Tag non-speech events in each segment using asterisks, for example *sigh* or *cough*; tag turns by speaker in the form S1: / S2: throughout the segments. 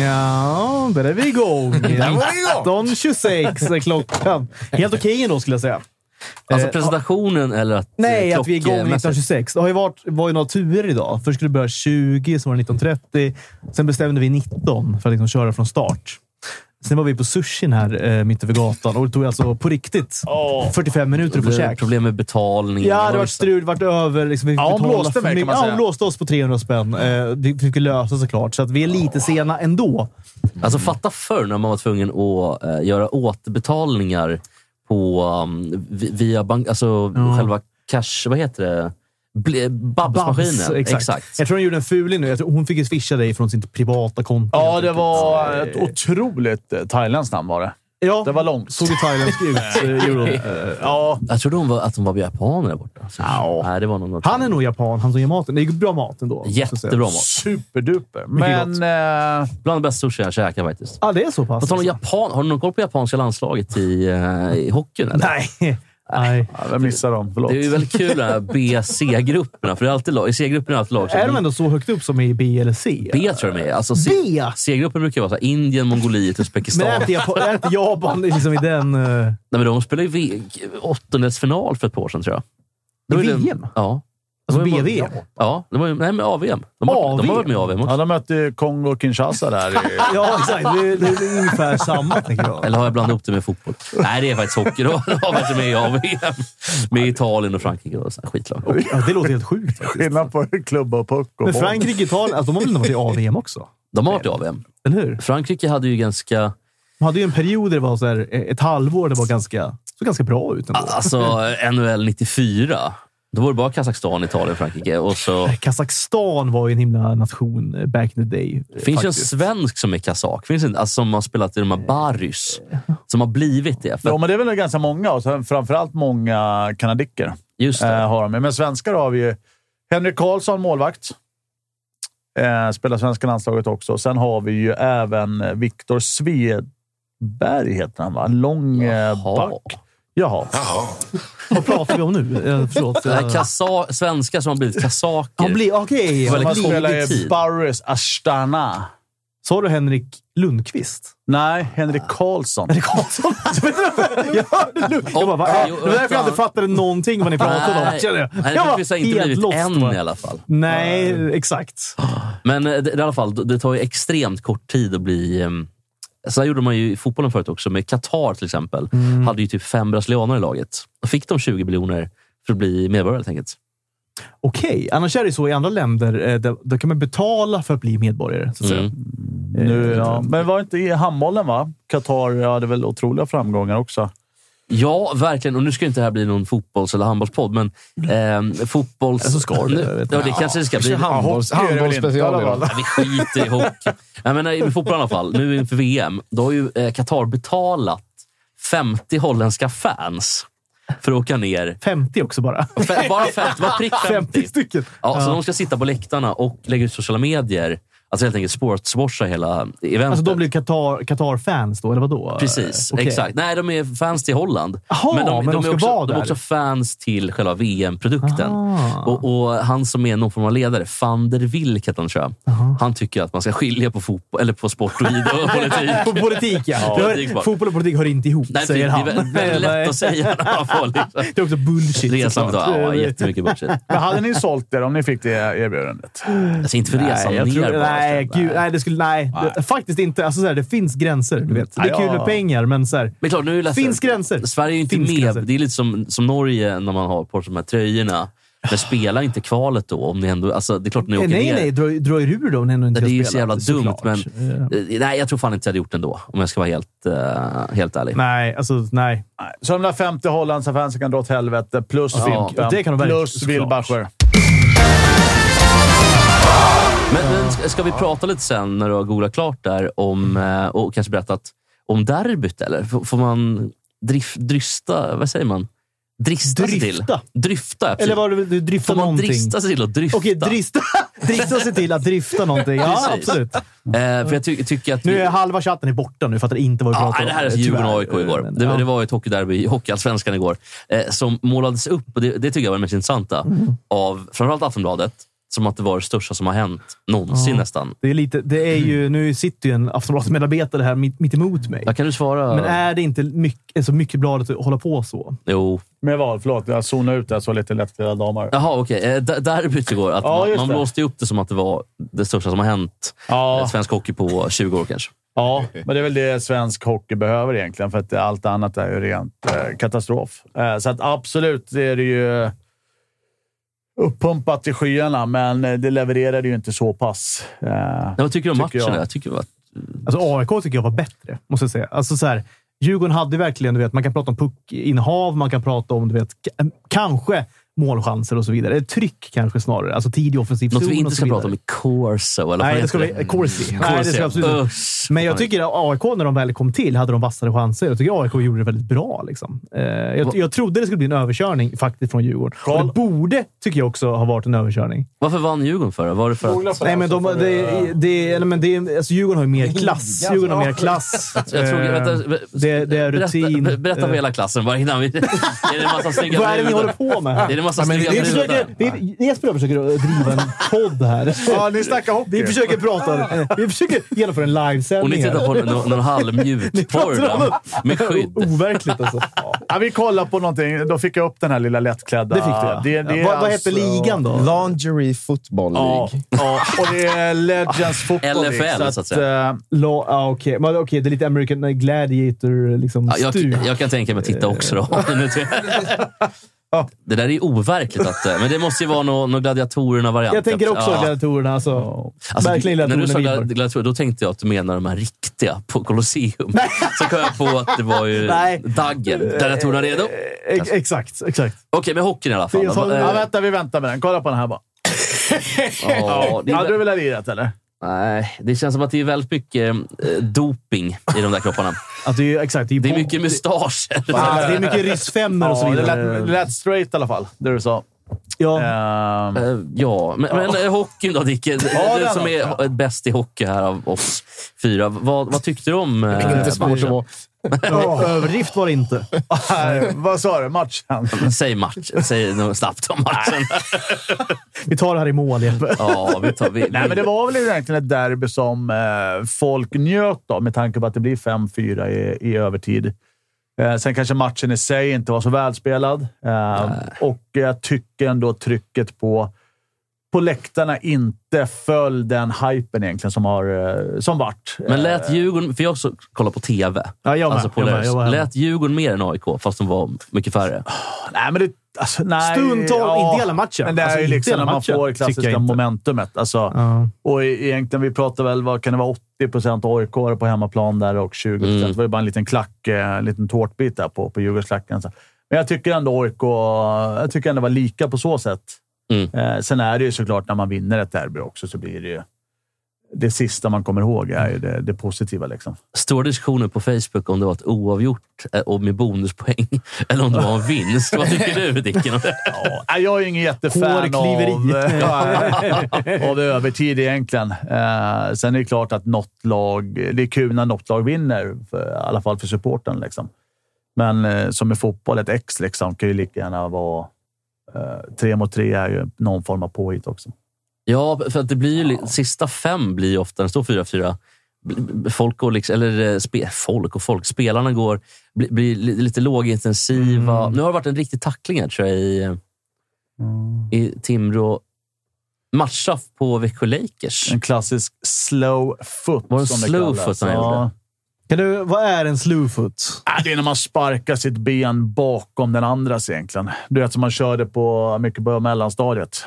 S1: Ja, där är vi igång.
S2: Där var vi igång.
S1: 18.26 är klockan. Helt okej ändå skulle jag säga.
S3: Alltså
S1: Eh,
S3: presentationen eller att...
S1: Nej,
S3: eh,
S1: att vi är igång
S3: klockmässigt.
S1: 1926. Det har ju varit, var ju några turer idag. Först skulle det börja 20, sen var det 1930. Sen bestämde vi 19 för att liksom köra från start. Sen var vi på sushin här eh, mitt över gatan och det tog alltså på riktigt 45 minuter att få
S3: Det är
S1: käk.
S3: problem med betalningen.
S1: Ja, det var strul. Vart över. Liksom, vi fick
S2: Ja, hon
S1: betala
S2: blåste
S1: för
S2: mig, kan
S1: mycket.
S2: man
S1: Ja,
S2: säga.
S1: hon blåste oss på 300 spänn. Eh, det fick vi lösa såklart, så att vi är lite sena ändå.
S3: Alltså fatta förr när man var tvungen att eh, göra återbetalningar på, um, vi- via bank, alltså
S1: Ja.
S3: själva cash... Vad heter det? Bl-
S1: Babs,
S3: Babs-maskinen.
S1: exakt. Jag tror hon gjorde en fuling nu. Jag tror hon fick ju swisha dig från sitt privata konto.
S2: Ja, det var ett otroligt eh, thailändskt namn var det.
S1: Ja,
S2: Det var långt.
S1: såg ju thailändsk ut. eh, gjorde hon. Eh,
S2: Ja,
S3: Jag trodde hon var, att hon var japaner där borta. Så-
S2: Ja.
S3: Nej, det var någon
S1: Han är nog japan, han som ger maten. Det är ju bra mat ändå. måste jag säga.
S3: jättebra mat.
S2: superduper.
S1: Mycket
S2: Men eh,
S3: Bland det bästa sushi jag käkat faktiskt.
S1: Ja, ah, det är så
S3: På
S1: pass.
S3: tal om Japan, har du någon koll på japanska landslaget i, eh, i hockeyn? Eller?
S1: Nej. Nej.
S2: ja, jag missade dem. Förlåt.
S3: Det är ju väldigt kul de här B-C-grupperna. För det är alltid lag, i C-gruppen är det alltid lag. som-
S1: Är de ändå så högt upp som i B eller C?
S3: B tror jag de är. Alltså, C-
S1: B?
S3: C-gruppen brukar ju vara så här, Indien, Mongoliet, Uzbekistan.
S1: Men är inte Japan, är inte Japan liksom i den... eh,
S3: Nej, men de spelade ju V- åttondelsfinal för ett par år sedan, tror jag. Då
S1: I
S3: är det-
S1: VM?
S3: Ja.
S1: Alltså
S3: Det var ju-
S1: BV?
S3: Ja, det var ju, nej, men AVM. De har, De har varit med i AVM också.
S2: Ja, de mötte ju Kongo-Kinshasa där. I,
S1: Ja, exakt. Det, det, det är ungefär samma, tänker jag.
S3: *laughs* Eller har jag blandat ihop det med fotboll? Nej, det är faktiskt hockey. *laughs* De har de har varit med i AVM. Med Italien och Frankrike och sådana skitlag.
S1: Ja, det låter helt sjukt. faktiskt.
S2: skillnad på klubba och puck och
S1: Men
S2: boll.
S1: Frankrike, Italien, alltså, de har väl ändå varit i AVM också?
S3: De har varit i AVM.
S1: Eller hur?
S3: Frankrike hade ju ganska...
S1: De hade ju en period där det var så här, eh, ett halvår där det var ganska, såg ganska bra ut ändå.
S3: Alltså, NHL 94. Då var det bara Kazakstan, Italien, Frankrike. Och så
S1: Kazakstan var ju en himla nation eh, back in the day. eh,
S3: finns ju en
S1: faktiskt.
S3: svensk som är kazak. Finns det inte? Alltså, som har spelat i de här Barys. Som har blivit det.
S2: Ja,
S3: För,
S2: men det är väl ganska många och sen framförallt många kanadicker
S3: just
S2: eh,
S1: Äh.
S3: det.
S2: har de. Men svenskar har vi ju Henrik Karlsson, målvakt. Eh, spelar svenska landslaget också. Sen har vi ju även eh, Viktor Svedberg, heter han va? Lång eh,
S3: Jaha.
S2: back. Jaha.
S1: Vad pratar vi om nu? Eh, Förlåt.
S3: *laughs* Det här
S1: eh,
S3: kasa- svenskar som har blivit kazaker.
S1: Han blir... Okej.
S3: Det var
S2: Han
S3: väldigt
S2: spelar
S3: konstig
S2: i
S3: tid.
S2: Barrys Astana.
S1: Sa du Henrik
S3: *laughs*
S1: Lundqvist?
S2: Nej, Henrik Karlsson.
S1: Henrik *laughs* Karlsson? jag hörde Lundqvist. Jag bara, va?
S3: jo,
S1: Det var därför jag inte fattade någonting vad ni pratade om.
S3: Nej,
S1: känner jag.
S3: Nej,
S1: jag
S3: det finns inte blivit än
S1: va?
S3: i alla fall.
S1: Nej, exakt.
S3: Men eh, det, i alla fall, det tar ju extremt kort tid att bli... ehm, Så här gjorde man ju i fotbollen förut också. Med Qatar till exempel.
S1: Mm.
S3: Hade ju typ fem brasilianer i laget. Då fick de 20 miljoner för att bli medborgare helt enkelt.
S1: Okej, annars är det så i andra länder. eh, Där, där kan man betala för att bli medborgare. Så att säga. Eh,
S3: Mm.
S2: *laughs* Nu, ja. Eh, Men var det inte i handbollen, va? Qatar hade väl otroliga framgångar också.
S3: Ja, verkligen. Och nu ska ju inte det här bli någon fotbolls eller handbollspodd, men ehm, fotbolls...
S1: Eller så ska det,
S3: Nu-
S1: jag vet
S3: ja,
S1: inte.
S3: det kanske det ska bli.
S4: Handbolls,
S2: hockey är det väl inte i alla
S4: handbollsspecial
S2: fall.
S4: idag.
S3: Nej, vi skiter i hockey. Nej, men eh, I fotboll i alla fall, nu inför VM, då har ju eh, Qatar betalat 50 holländska fans för att åka ner.
S1: 50 också bara. *laughs*
S3: Fe- Bara 50, bara prick 50.
S1: 50 stycken.
S3: Ja, så de ska sitta på läktarna och lägga ut sociala medier. Alltså helt enkelt sportswasha hela eventet.
S1: Alltså de blir Qatar- Qatar-fans då, eller vadå?
S3: Precis,
S1: Eh, okej.
S3: exakt. Nej, de är fans till Holland.
S1: Jaha, men de
S3: är
S1: ska
S3: också,
S1: vara
S3: de är
S1: där.
S3: också fans till själva VM-produkten.
S1: Ah.
S3: Och, och Han som är någon form av ledare, van der Wilk heter han tror jag. Han tycker att man ska skilja på, fotboll, eller på sport och idrott
S1: *laughs*
S3: och politik.
S1: På politik, ja.
S3: *laughs* Ja,
S1: Det hör-
S3: politik bara.
S1: fotboll och politik hör inte ihop,
S3: Nej, det, det
S1: säger han.
S3: är väldigt- väldigt lätt att säga när man
S1: *laughs*
S3: får liksom.
S1: Det är också bullshit.
S3: Resan
S1: såklart.
S3: tar ja, jättemycket bullshit.
S2: Men hade ni sålt det om ni fick det erbjudandet?
S3: Alltså inte för resan
S1: Nej, jag
S3: ner
S1: tror,
S3: bara.
S1: nej, gud, nej, det skulle, nej, Det, faktiskt inte. Alltså, så här, det finns gränser, du vet. Det
S2: Nej,
S1: är kul
S2: ja.
S1: med pengar, men så här,
S3: Men klart, nu är det ledsen.
S1: Finns gränser.
S3: Sverige är ju inte
S1: Finns
S3: med.
S1: gränser.
S3: Det är lite som, som Norge när man har på sig de här tröjorna. Men spela inte kvalet då. Om ni ändå, alltså, det är klart ni åker
S1: nej, nej,
S3: ner.
S1: nej, dra, dra er ur då om ni ändå inte
S3: Det är
S1: ska
S3: ju så
S1: spela.
S3: jävla dumt,
S1: Såklart.
S3: men
S1: Eh,
S3: eh, nej, jag tror fan inte jag hade gjort det ändå. Om jag ska vara helt, eh, helt ärlig.
S1: Nej, alltså nej.
S2: Så de där 50 holländska fansen kan dra åt helvete, plus
S3: Ja,
S2: Fimpen,
S1: det kan de verkligen-
S2: plus
S1: såklart.
S2: Wilbacher.
S3: Men, men ska, ska vi prata lite sen när du har googlat klart där om, eh, och kanske berättat om derbyt? Eller? F- Får man drif, drysta? Vad säger man? Drista sig till?
S1: Drifta.
S3: Dryfta, ja, precis.
S1: Eller var det du
S3: Får
S1: drifta
S3: man
S1: någonting?
S3: drista sig till att dryfta?
S1: Okej, drista, *laughs* drista sig till att drifta någonting. Ja,
S3: Precis.
S1: absolut.
S3: Eh, för jag ty- tycker att...
S1: Nu
S3: vi-
S1: är halva chatten är borta nu. Fattar inte vad vi
S3: Ja,
S1: pratar
S3: nej,
S1: om.
S3: det här är eh,
S1: tyvärr.
S3: Djurgården-AIK igår.
S1: Men,
S3: Det,
S1: ja.
S3: det var ju ett hockeyderby i Hockeyallsvenskan Mm. igår. Eh, som målades upp, och det, det tycker jag var det mest intressanta, av framförallt Aftonbladet. som att det var det största som har hänt någonsin
S1: Ja.
S3: nästan.
S1: Det är lite, det är ju,
S3: Mm.
S1: nu sitter ju en Aftonbladet-medarbetare här mitt, mitt emot mig.
S3: Där kan du svara.
S1: Men är det inte mycket, alltså mycket bladet att hålla på så?
S3: Jo.
S2: Med vad? Förlåt, jag zonade ut där så lite lättklädda damer.
S3: Jaha, okej. Eh, d- Derbyt igår. Att
S2: Ja,
S3: man,
S2: just
S3: man
S2: det.
S3: blåste ju upp det som att det var det största som har hänt eh,
S2: Ja,
S3: svensk hockey på 20 år kanske.
S2: ja, men det är väl det svensk hockey behöver egentligen, för att allt annat är ju rent eh, katastrof. Eh, så att absolut det är det ju uppumpat i skyarna, men eh, det levererade ju inte så pass. Eh,
S3: Nej, vad tycker du om
S2: Tycker
S3: matchen?
S2: jag.
S3: Jag. tycker att
S1: Alltså AIK tycker jag var bättre, måste jag säga. Alltså så här, Djurgården hade verkligen, du vet, man kan prata om puckinnehav, man kan prata om, du vet, k- kanske målchanser och så vidare. Eller tryck kanske snarare. Alltså tidig offensiv
S3: något vi
S1: zon och
S3: inte
S1: så
S3: ska prata
S1: vidare.
S3: om är Corso. Eller vad
S1: Nej, det ska
S3: heter
S1: vi... Corsi. Nej, det ska vi
S3: Corsi.
S1: absolut inte.
S3: Usch.
S1: Men jag tycker att AIK, när de väl kom till, hade de vassare chanser. Jag tycker AIK gjorde det väldigt bra. Liksom. Eh, jag, jag trodde det skulle bli en överkörning faktiskt från Djurgården. Och
S2: Carl-
S1: det borde, tycker jag också, ha varit en överkörning.
S3: Varför vann Djurgården för det? Var det för att...
S1: Nej, men, de, det, det, eller, men det, alltså Djurgården har ju mer klass. Djurgården *laughs* har mer klass.
S3: *laughs* Jag tror,
S1: Eh,
S3: vänta, be-
S1: det, det är rutin.
S3: Berätta, berätta för
S1: Eh,
S3: hela klassen bara innan vi... *laughs* Är det en massa snygga
S1: Vad är det ni
S3: brudar?
S1: håller på med?
S3: Är det en massa
S4: Ja, men
S3: snygga
S4: vi
S1: Ni
S3: brudar?
S1: försöker, det är, Jesper och jag försöker driva en podd *laughs* här.
S2: Ja, ni snackar hockey.
S1: Vi försöker prata. *laughs* Vi försöker genomföra en
S3: Och ni
S1: livesändning
S3: tittar
S1: här.
S3: på någon, någon
S1: Ni
S3: halvmjut porr
S1: pratar om-
S3: va? med skydd.
S1: Overkligt alltså.
S2: Ja, vi kollar på någonting. Då fick jag upp den här lilla lättklädda.
S1: Det fick du, ja.
S2: det är
S1: Vad, vad hette
S2: alltså-
S1: ligan då?
S4: Lingerie Football
S2: Ja,
S4: League. *laughs*
S2: ja, och det är Legends Football League,
S3: LFL, så att säga.
S2: eh,
S1: La, ah, Okej, Men okej, det är lite American Gladiator-stuk. Liksom,
S3: Ja, jag,
S1: stuk.
S3: jag kan tänka mig att titta också då.
S1: Eh.
S3: *laughs* Nu tror jag- det där är ju overkligt. Att, eh, men det måste ju vara någon nå Gladiatorerna-variant.
S1: Jag tänker också
S3: Ja.
S1: gladiatorerna. Alltså,
S3: Alltså,
S1: verkligen
S3: när du sa
S1: gladiatorerna
S3: glad-
S1: vinner.
S3: gladiatorer, då tänkte jag att du menar de här riktiga på Colosseum. Så kom jag på att det var ju
S1: Nej.
S3: Daggen. Gladiatorerna redo? Okej,
S1: Ex- Exakt, exakt.
S3: men hockeyn i alla fall.
S1: Det är så-
S3: Va- eh,
S2: Ja, vänta, vi väntar med den. Kolla på den här bara.
S3: ja, det är
S2: Hade
S3: väl-
S2: du velat lirat eller?
S3: Nej, det känns som att det är väldigt mycket eh, doping i de där kropparna.
S1: Att det är, ju- exakt det är, ju
S3: Det är
S1: bomb-
S3: mycket mustascher.
S1: Ah, det är mycket ryssfemmor och så
S2: Ja, det
S1: vidare.
S2: lät, det lät straight i alla fall, det du sa.
S1: ja.
S2: Ehm, *laughs*
S3: Eh, Ja, men, men eh, hockeyn då Dicke? Du
S2: Ja,
S3: du
S2: den
S3: som
S2: då.
S3: är ho- bäst i hockey här av oss fyra. Vad, vad tyckte du om eh,
S4: Inte svårt att
S3: matchen?
S4: vara.
S1: Ja, Överdrift var det inte.
S2: nej, vad sa du? Matchen?
S3: Men Säg matchen. Säg något snabbt om matchen.
S1: Vi tar det här i mål, Jeppe.
S3: *laughs* ja, vi tar, vi,
S2: Nej, men det var väl egentligen ett derby som eh, folk njöt av med tanke på att det blir 5-4 i, i övertid. Eh, sen kanske matchen i sig inte var så välspelad eh, och jag tycker ändå trycket på, på läktarna inte föll den hypen egentligen som, har, eh, som vart.
S3: men lät Djurgården... För jag också kollar på TV.
S1: Ja, jag med.
S3: Alltså på
S1: jag med,
S3: Lärus.
S1: jag var hemma.
S3: lät Djurgården mer än AIK, fast de var mycket färre?
S2: Nej, men det... Alltså, nej,
S1: Stundtal, inte hela matchen.
S2: Men det
S1: Alltså,
S2: är ju
S1: inte
S2: liksom
S1: hela
S2: när man
S1: matchen,
S2: får det
S1: tycker jag
S2: klassiska
S1: inte.
S2: momentumet. Alltså,
S1: Ja.
S2: och e- egentligen, vi pratar väl, vad kan det vara, 80 AIK are på hemmaplan där och 20 Det var ju bara en liten klack, eh, en liten tårtbit där på, på Djurgårdsklacken. Så. Men jag tycker ändå AIK jag tycker ändå var lika på så sätt.
S3: Mm.
S2: Eh, sen är det ju såklart, när man vinner ett derby också, så blir det ju... Det sista man kommer ihåg är ju det, det positiva. Liksom.
S3: Stora diskussioner på Facebook om det var ett oavgjort eh, och med bonuspoäng *laughs* eller om det var en vinst. Vad tycker du, Dicken?
S2: Ja, nej, jag är ju ingen jättefan
S1: Hårkliveri.
S2: av, eh, av övertid egentligen. Eh, sen är det klart att något lag... Det är kul när något lag vinner, för, i alla fall för supporten. Liksom. Men eh, som i fotboll, ett ex liksom, kan ju lika gärna vara... Eh, tre mot tre är ju någon form av påhitt också.
S3: Ja, för att det blir ju, li- sista fem blir ju ofta, när det står 4-4, bl- folk och, liksom, eller, eh, spe, folk och folk, spelarna går, blir, blir li- lite lågintensiva. Nu har det varit en riktig tackling här tror jag i, eh, i Timrå. Matchstraff på Växjö Lakers.
S2: En klassisk slow foot.
S3: Var det
S2: som
S3: slow
S2: kallas.
S3: foot han
S2: Ja.
S3: gjorde?
S1: Kan du, vad är en slewfoot?
S2: Ja, Äh, Det är när man sparkar sitt ben bakom den andras egentligen. Du vet som man körde på mycket på mellanstadiet.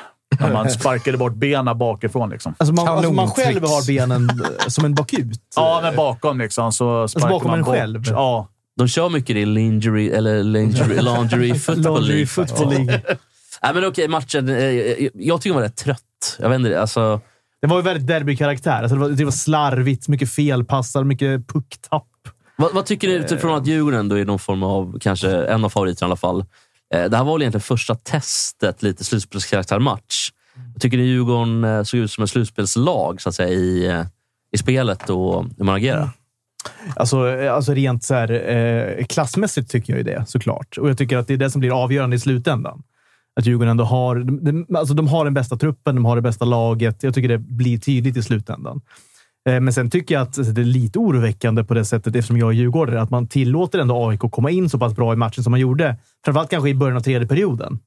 S1: *laughs*
S2: När man sparkade bort benen bakifrån. Liksom.
S1: Alltså man, alltså man
S4: Kanontricks.
S1: själv har benen eh, som en bakut.
S2: Ja, men bakom liksom. Så sparkar
S1: Alltså bakom
S2: man
S1: en
S2: bort.
S1: själv?
S2: Ja.
S3: De kör mycket i lingerie, eller lingerie, lingerie football
S1: Laundry
S3: league.
S1: Football League.
S3: Nej, men okej, matchen. eh, Jag, jag tycker den var rätt trött. Jag vet inte, alltså,
S1: Det var ju väldigt derbykaraktär. Alltså det, var, det var slarvigt, mycket felpassar, mycket pucktapp.
S3: Vad, vad tycker ni utifrån att Djurgården då är någon form av, kanske en av favoriterna i alla fall. Eh, Det här var väl egentligen första testet, lite slutspelskaraktärmatch. Tycker ni Djurgården eh, såg ut som ett slutspelslag så att säga, i, eh, i spelet och hur man agerar?
S1: Alltså, eh, alltså rent så här, eh, klassmässigt tycker jag ju det, såklart. Och jag tycker att det är det som blir avgörande i slutändan. att Djurgården ändå har, de, de- alltså de har den bästa truppen, de har det bästa laget. Jag tycker det blir tydligt i slutändan. Eh, Men sen tycker jag att alltså, det är lite oroväckande på det sättet, eftersom jag är djurgårdare, att man tillåter ändå AIK komma in så pass bra i matchen som man gjorde. Framförallt kanske i början av tredje perioden.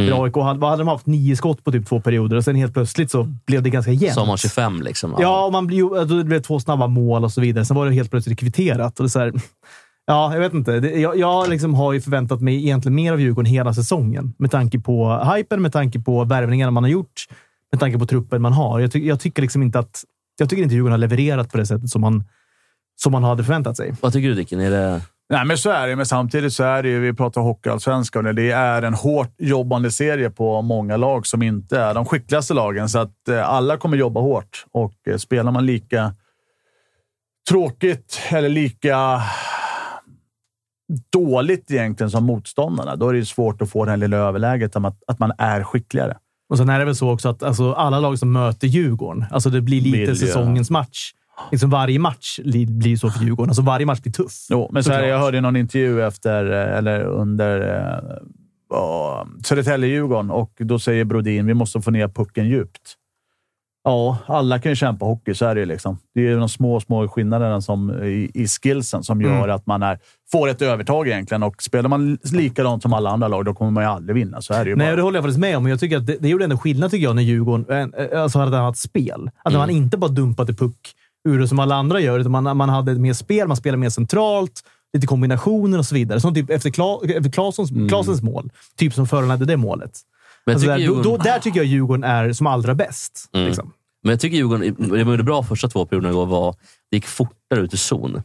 S3: Mm.
S1: För AIK, hade, vad hade de haft? Nio skott på typ två perioder och sen helt plötsligt så blev det ganska jämnt.
S3: Så har man 25 liksom.
S1: Ja, och man blir, ju- då blev det två snabba mål och så vidare. Sen var det helt plötsligt kvitterat. Och det är så här, *laughs* ja, jag vet inte. Det, jag jag liksom har ju förväntat mig egentligen mer av Djurgården hela säsongen. Med tanke på hypen, med tanke på värvningarna man har gjort, med tanke på truppen man har. Jag, ty, jag tycker liksom inte att jag tycker inte Djurgården har levererat på det sättet som man, som man hade förväntat sig.
S3: Vad tycker du Dicken? Är det...
S2: Nej, men så är det. Men samtidigt så är det ju, vi pratar hockeyallsvenskan, och det är en hårt jobbande serie på många lag som inte är de skickligaste lagen. Så att eh, alla kommer jobba hårt och eh, spelar man lika tråkigt eller lika dåligt egentligen som motståndarna, då är det ju svårt att få det här lilla överläget om att, att man är skickligare.
S1: Och sen är det väl så också att alltså, alla lag som möter Djurgården, alltså det blir lite
S2: Vill ju-
S1: säsongens match. Liksom varje match li, blir så för Djurgården. Alltså varje match blir tuff.
S2: Jo, men så här,
S1: Såklart.
S2: jag hörde i någon intervju efter, eh, eller under eh, ja, Södertälje-Djurgården och då säger Brodin vi måste få ner pucken djupt. Ja, alla kan ju kämpa hockey, så är det ju. Liksom. Det är ju de små, små skillnaderna som, i, i skillsen som gör
S1: Mm.
S2: att man är, får ett övertag egentligen. Och spelar man likadant som alla andra lag, då kommer man ju aldrig vinna. Så är det ju
S1: Nej,
S2: bara.
S1: det håller jag faktiskt med om. Men Jag tycker att det, det gjorde ändå skillnad tycker jag när Djurgården eh, eh, alltså hade ett annat spel. Att
S3: Mm.
S1: man inte bara dumpade puck ur det som alla andra gör, utan man, man hade mer spel, man spelade mer centralt, lite kombinationer och så vidare. Som typ efter, Kla, efter Klasons, Klasens mål, typ som föranledde det målet.
S3: Mm. Men jag
S1: Alltså
S3: tycker
S1: där, då,
S3: Djurgården-
S1: då, där tycker jag Djurgården är som allra bäst.
S3: Mm.
S1: Liksom.
S3: Men jag tycker Djurgården, det man gjorde bra första två perioderna igår var det gick fortare ut i zon.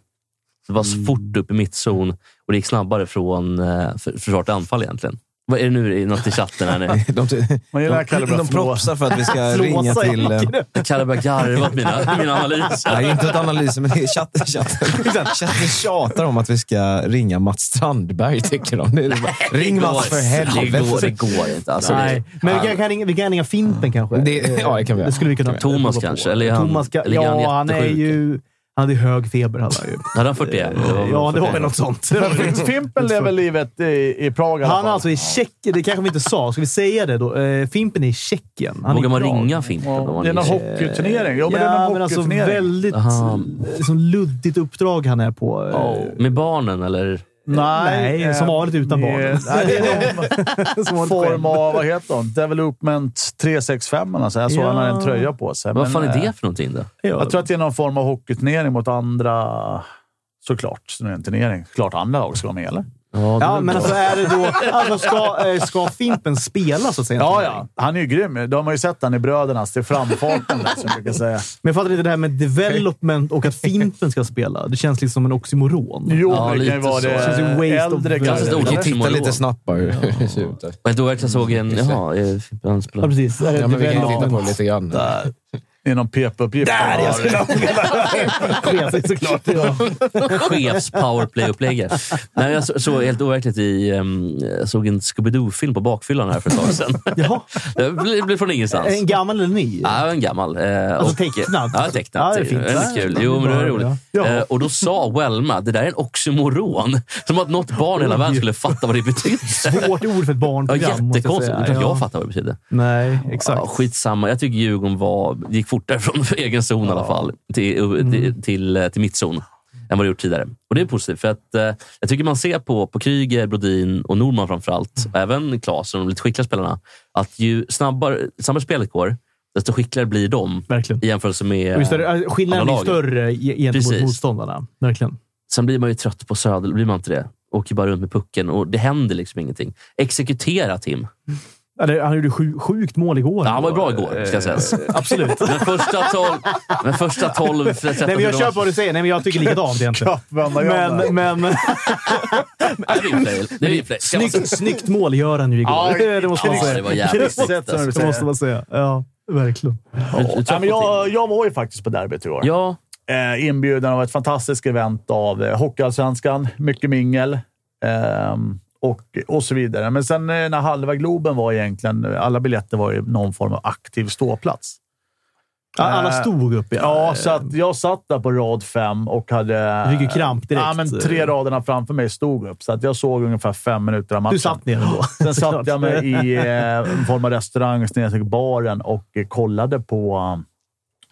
S3: Det var fort upp i mittzon och det gick snabbare från eh, för- försvar till anfall egentligen. Vad är det nu? Är det något i chatten här
S4: *laughs*
S3: nu?
S4: De,
S2: Man gillar Kalle
S4: de,
S2: bra
S4: de
S2: förlåt.
S4: propsar för att
S1: *laughs*
S4: vi ska ringa
S1: Flåsa i
S4: till... eh,
S1: backen.
S3: Kalle börjar garva åt mina, mina analyser.
S4: Nej, inte åt analysen, men det är chatten, chatten. chatten tjatar om att vi ska ringa Mats Strandberg, tycker de. Det är bara, Ring Mats för
S3: Det går, det
S4: helvete.
S3: går inte. Alltså,
S1: Nej, men vi kan, kan ringa, vi kan ringa Fimpen kanske.
S4: Det-
S3: *laughs*
S4: ja, det kan vi göra.
S1: skulle vi kunna
S3: Thomas
S1: prova på.
S3: kanske, eller är han-
S1: Thomas ka-
S3: eller är han
S1: ja, han är
S3: jättesjuk?
S1: ju... Han hade hög feber. Han hade ju.
S3: Hade han 41?
S1: Ja, det var väl något sånt. *laughs* Det var väl
S2: Fim- Fimpen lever livet i, i Prag i alla
S1: Han är
S2: fall.
S1: alltså i Tjeckien. Det kanske vi inte sa. Ska vi säga det då? Eh, Fimpen är i Tjeckien. Han är
S3: Vågar
S1: i
S3: man
S1: Prag.
S3: ringa Fimpen? om man
S2: Det är någon
S3: ringer?
S2: hockeyturnering. Jo, men det är
S1: Ja,
S2: någon
S1: men alltså
S2: hockeyturnering.
S1: väldigt
S3: Aha.
S1: liksom, luddigt uppdrag han är på. Eh,
S2: Ja.
S3: Med barnen eller?
S1: Nej, som vanligt utan
S2: eh,
S1: barnen.
S2: Nej, det är någon
S1: som vanligt
S2: form
S1: själv.
S2: av, vad heter de? Development 365 eller så. Jag såg
S1: Ja.
S2: han hade en tröja på sig.
S3: Vad
S2: men,
S3: fan är
S2: eh,
S3: det för någonting då?
S1: Ja.
S2: Jag tror att det är någon form av hockeyturnering mot andra. Såklart, så det är en turnering. Klart andra lag ska vara med, eller?
S1: Ja, men alltså är det då... Alltså, ska, eh, ska Fimpen spela så att säga?
S2: Ja, ja. Han är ju grym. De har ju sett han i Brödernas. Det är framfarten där, som jag brukar säga.
S1: Men jag fattar inte det här med development och att Fimpen ska spela. Det känns liksom som en oxymoron.
S2: Jo,
S3: Ja,
S2: men det
S3: lite
S2: kan ju vara
S3: så.
S2: det
S1: Känns ju waste of-
S2: äldre
S1: Ganska
S2: kanske.
S3: stort.
S4: Jag tittar lite snabbt bara hur *laughs* hur det ser ut. där.
S3: Men då verkligen såg en... Jaha, eh, Fimpen han
S1: Ja,
S3: spelar.
S1: precis. Är det
S4: Ja, men vi kan ju titta på
S1: development?
S4: det lite grann.
S2: Det är någon PP-uppgift. Där! Jag
S1: Ja, det är såklart. Ja.
S3: chefs powerplay-upplägget. Nej, jag så- såg helt overkligt i... ehm, jag såg en Scooby-Doo-film på bakfyllan här för ett tag sedan. *laughs*
S1: Jaha.
S3: Det blev blev från ingenstans.
S1: En gammal eller ny?
S3: Ja, det var en gammal. eh,
S1: Alltså
S3: och-
S1: tecknad?
S3: Ja, tecknad.
S1: Ja, det är fint.
S3: Väldigt
S1: Ja,
S3: kul.
S1: det är
S3: Jo, men det var
S1: bra,
S3: roligt.
S1: ja.
S3: Eh, Och då sa Welma, det där är en oxymoron. Som att något barn i hela världen skulle fatta vad
S1: *laughs*
S3: det betydde.
S1: Svårt ord för ett
S3: Ja,
S1: barnprogram, måste jag
S3: jättekonstigt.
S1: säga.
S3: Utan att jag fattar vad det betyder.
S1: Nej,
S3: Ja,
S1: exakt.
S3: skitsamma. Jag tycker Djurgården var, gick fortare från *laughs* egen zon i alla fall till,
S1: Mm.
S3: till, till, eh, till mittzon än vad det gjort tidigare. Och Det är positivt. för att eh, Jag tycker man ser på, på Kryger, Brodin och Norman framförallt,
S1: Mm.
S3: och även Claes och de lite skickliga spelarna, att ju snabbare, snabbare spelet går, desto skickligare blir de
S1: Verkligen.
S3: i jämförelse med...
S1: Och ju större, äh, skillnaden
S3: alla
S1: blir
S3: lag.
S1: större ge- gentemot
S3: Precis.
S1: motståndarna. Verkligen.
S3: Sen blir man ju trött på Söder, blir man inte det? Åker bara runt med pucken och det händer liksom ingenting. Exekutera Tim.
S1: Ja, det- Han gjorde sju, sjukt mål igår.
S3: Ja, han var ju bra igår, ska sägas.
S1: Eh, Absolut.
S3: Men första 12... Men första 12...
S1: Nej, men jag köper vad du säger. Nej, men *laughs* jag tycker likadant egentligen. Men, men,
S3: Nej, Det är inplay. Det är inplay. *laughs* Ska man säga.
S1: snyggt, snyggt mål gör han ju igår.
S2: Ja,
S1: *laughs* det måste man
S3: ja,
S1: säga.
S3: det var jävligt snyggt,
S1: Det
S3: alltså.
S1: måste- det måste man säga. Ja, verkligen.
S3: Du- du
S2: Ja, men
S3: tröttnar
S2: jag,
S3: till.
S2: jag var ju faktiskt på derbyt i år.
S3: Ja,
S2: Eh, inbjudan av ett fantastiskt event av eh, Hockeyallsvenskan, mycket mingel ehm, och, och så vidare. Men sen eh, när halva Globen var egentligen, alla biljetter var ju någon form av aktiv ståplats.
S1: Ja, Alla stod upp.
S2: Ja, så att jag satt där på rad fem och hade...
S1: Du fick ju kramp direkt.
S2: Ja, men tre raderna framför mig stod upp, så att jag såg ungefär fem minuter av matchen.
S1: Du satt ner ändå.
S2: Sen
S1: *laughs*
S2: satt
S1: Såklart.
S2: jag mig i eh, en form av restaurang snedstreck baren och eh, kollade på, eh,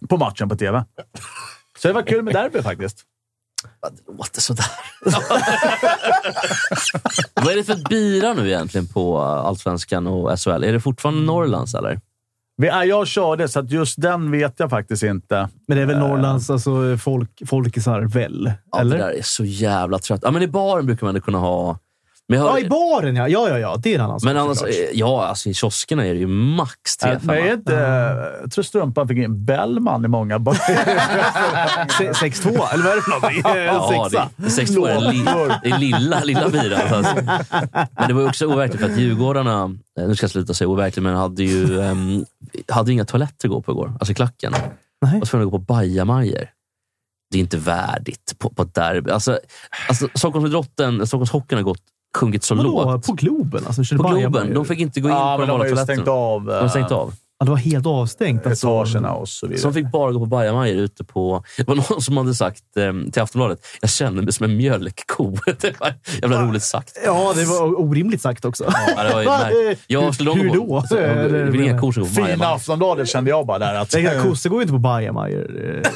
S2: på matchen på tv. Så det var kul med derby faktiskt.
S3: Det låter sådär. *laughs* Vad är det för bira nu egentligen på Allsvenskan och SHL? Är det fortfarande Norrlands, eller?
S2: Vi, ja, jag körde, så att just den vet jag faktiskt inte. Äh,
S1: Men det är väl Norrlands alltså, folk, folkisar, väl?
S3: Ja,
S1: eller?
S3: Det där är så jävla trött. Ja, men i baren brukar man ändå kunna ha... Men, jag har-
S1: Ja, i baren ja. Ja, ja, ja. Det är en annan sak.
S3: men annars,
S1: såklart.
S3: eh, ja, alltså, i kioskerna är det ju max
S2: Äh,
S3: tre
S2: men
S3: femma.
S2: är inte, äh, jag tror strumpan fick in Bellman i många *laughs*
S1: Se- 6-2, eller vad är det för någonting? En
S3: Ja,
S1: sexa.
S3: det är sex år. Li, det är lilla, lilla biran. Alltså. Men det var ju också overkligt för att Djurgårdarna, eh, nu ska jag sluta säga overkligt, men hade ju ehm, hade inga toaletter att gå på igår. Alltså klacken.
S1: Nej.
S3: Och så får de gå på bajamajor. Det är inte värdigt på, på ett derby. Alltså, alltså, Stockholmsidrotten, Stockholmshockeyn har gått, sjunkit så
S1: Vadå?
S3: lågt.
S1: På Globen? Alltså, körde
S3: På Globen.
S1: Bayern-
S3: De fick inte gå in
S2: Ja,
S3: på
S2: men
S3: de
S2: de har
S3: vanliga
S2: ju
S3: toaletterna.
S2: stängt av,
S3: De har stängt
S2: eh,
S3: av.
S1: ja, det var helt avstängt. Alltså.
S2: etagerna och så vidare.
S3: Så de fick bara gå på bajamajor ute på... Det var någon som hade sagt eh, till Aftonbladet, jag känner mig som en mjölkko. *laughs* Det var jävla roligt sagt.
S1: Ja, det var orimligt sagt också.
S3: Ja, det var ju
S1: Va?
S3: märkligt. Jag slog
S1: Hur
S3: dem på-
S1: då?
S3: Så, Det är väl inga kor som går på
S2: Fina
S3: bajamajor.
S2: Aftonbladet kände jag bara där. Att,
S1: Nej, exakt. Kossor går ju inte på bajamajor. Eh,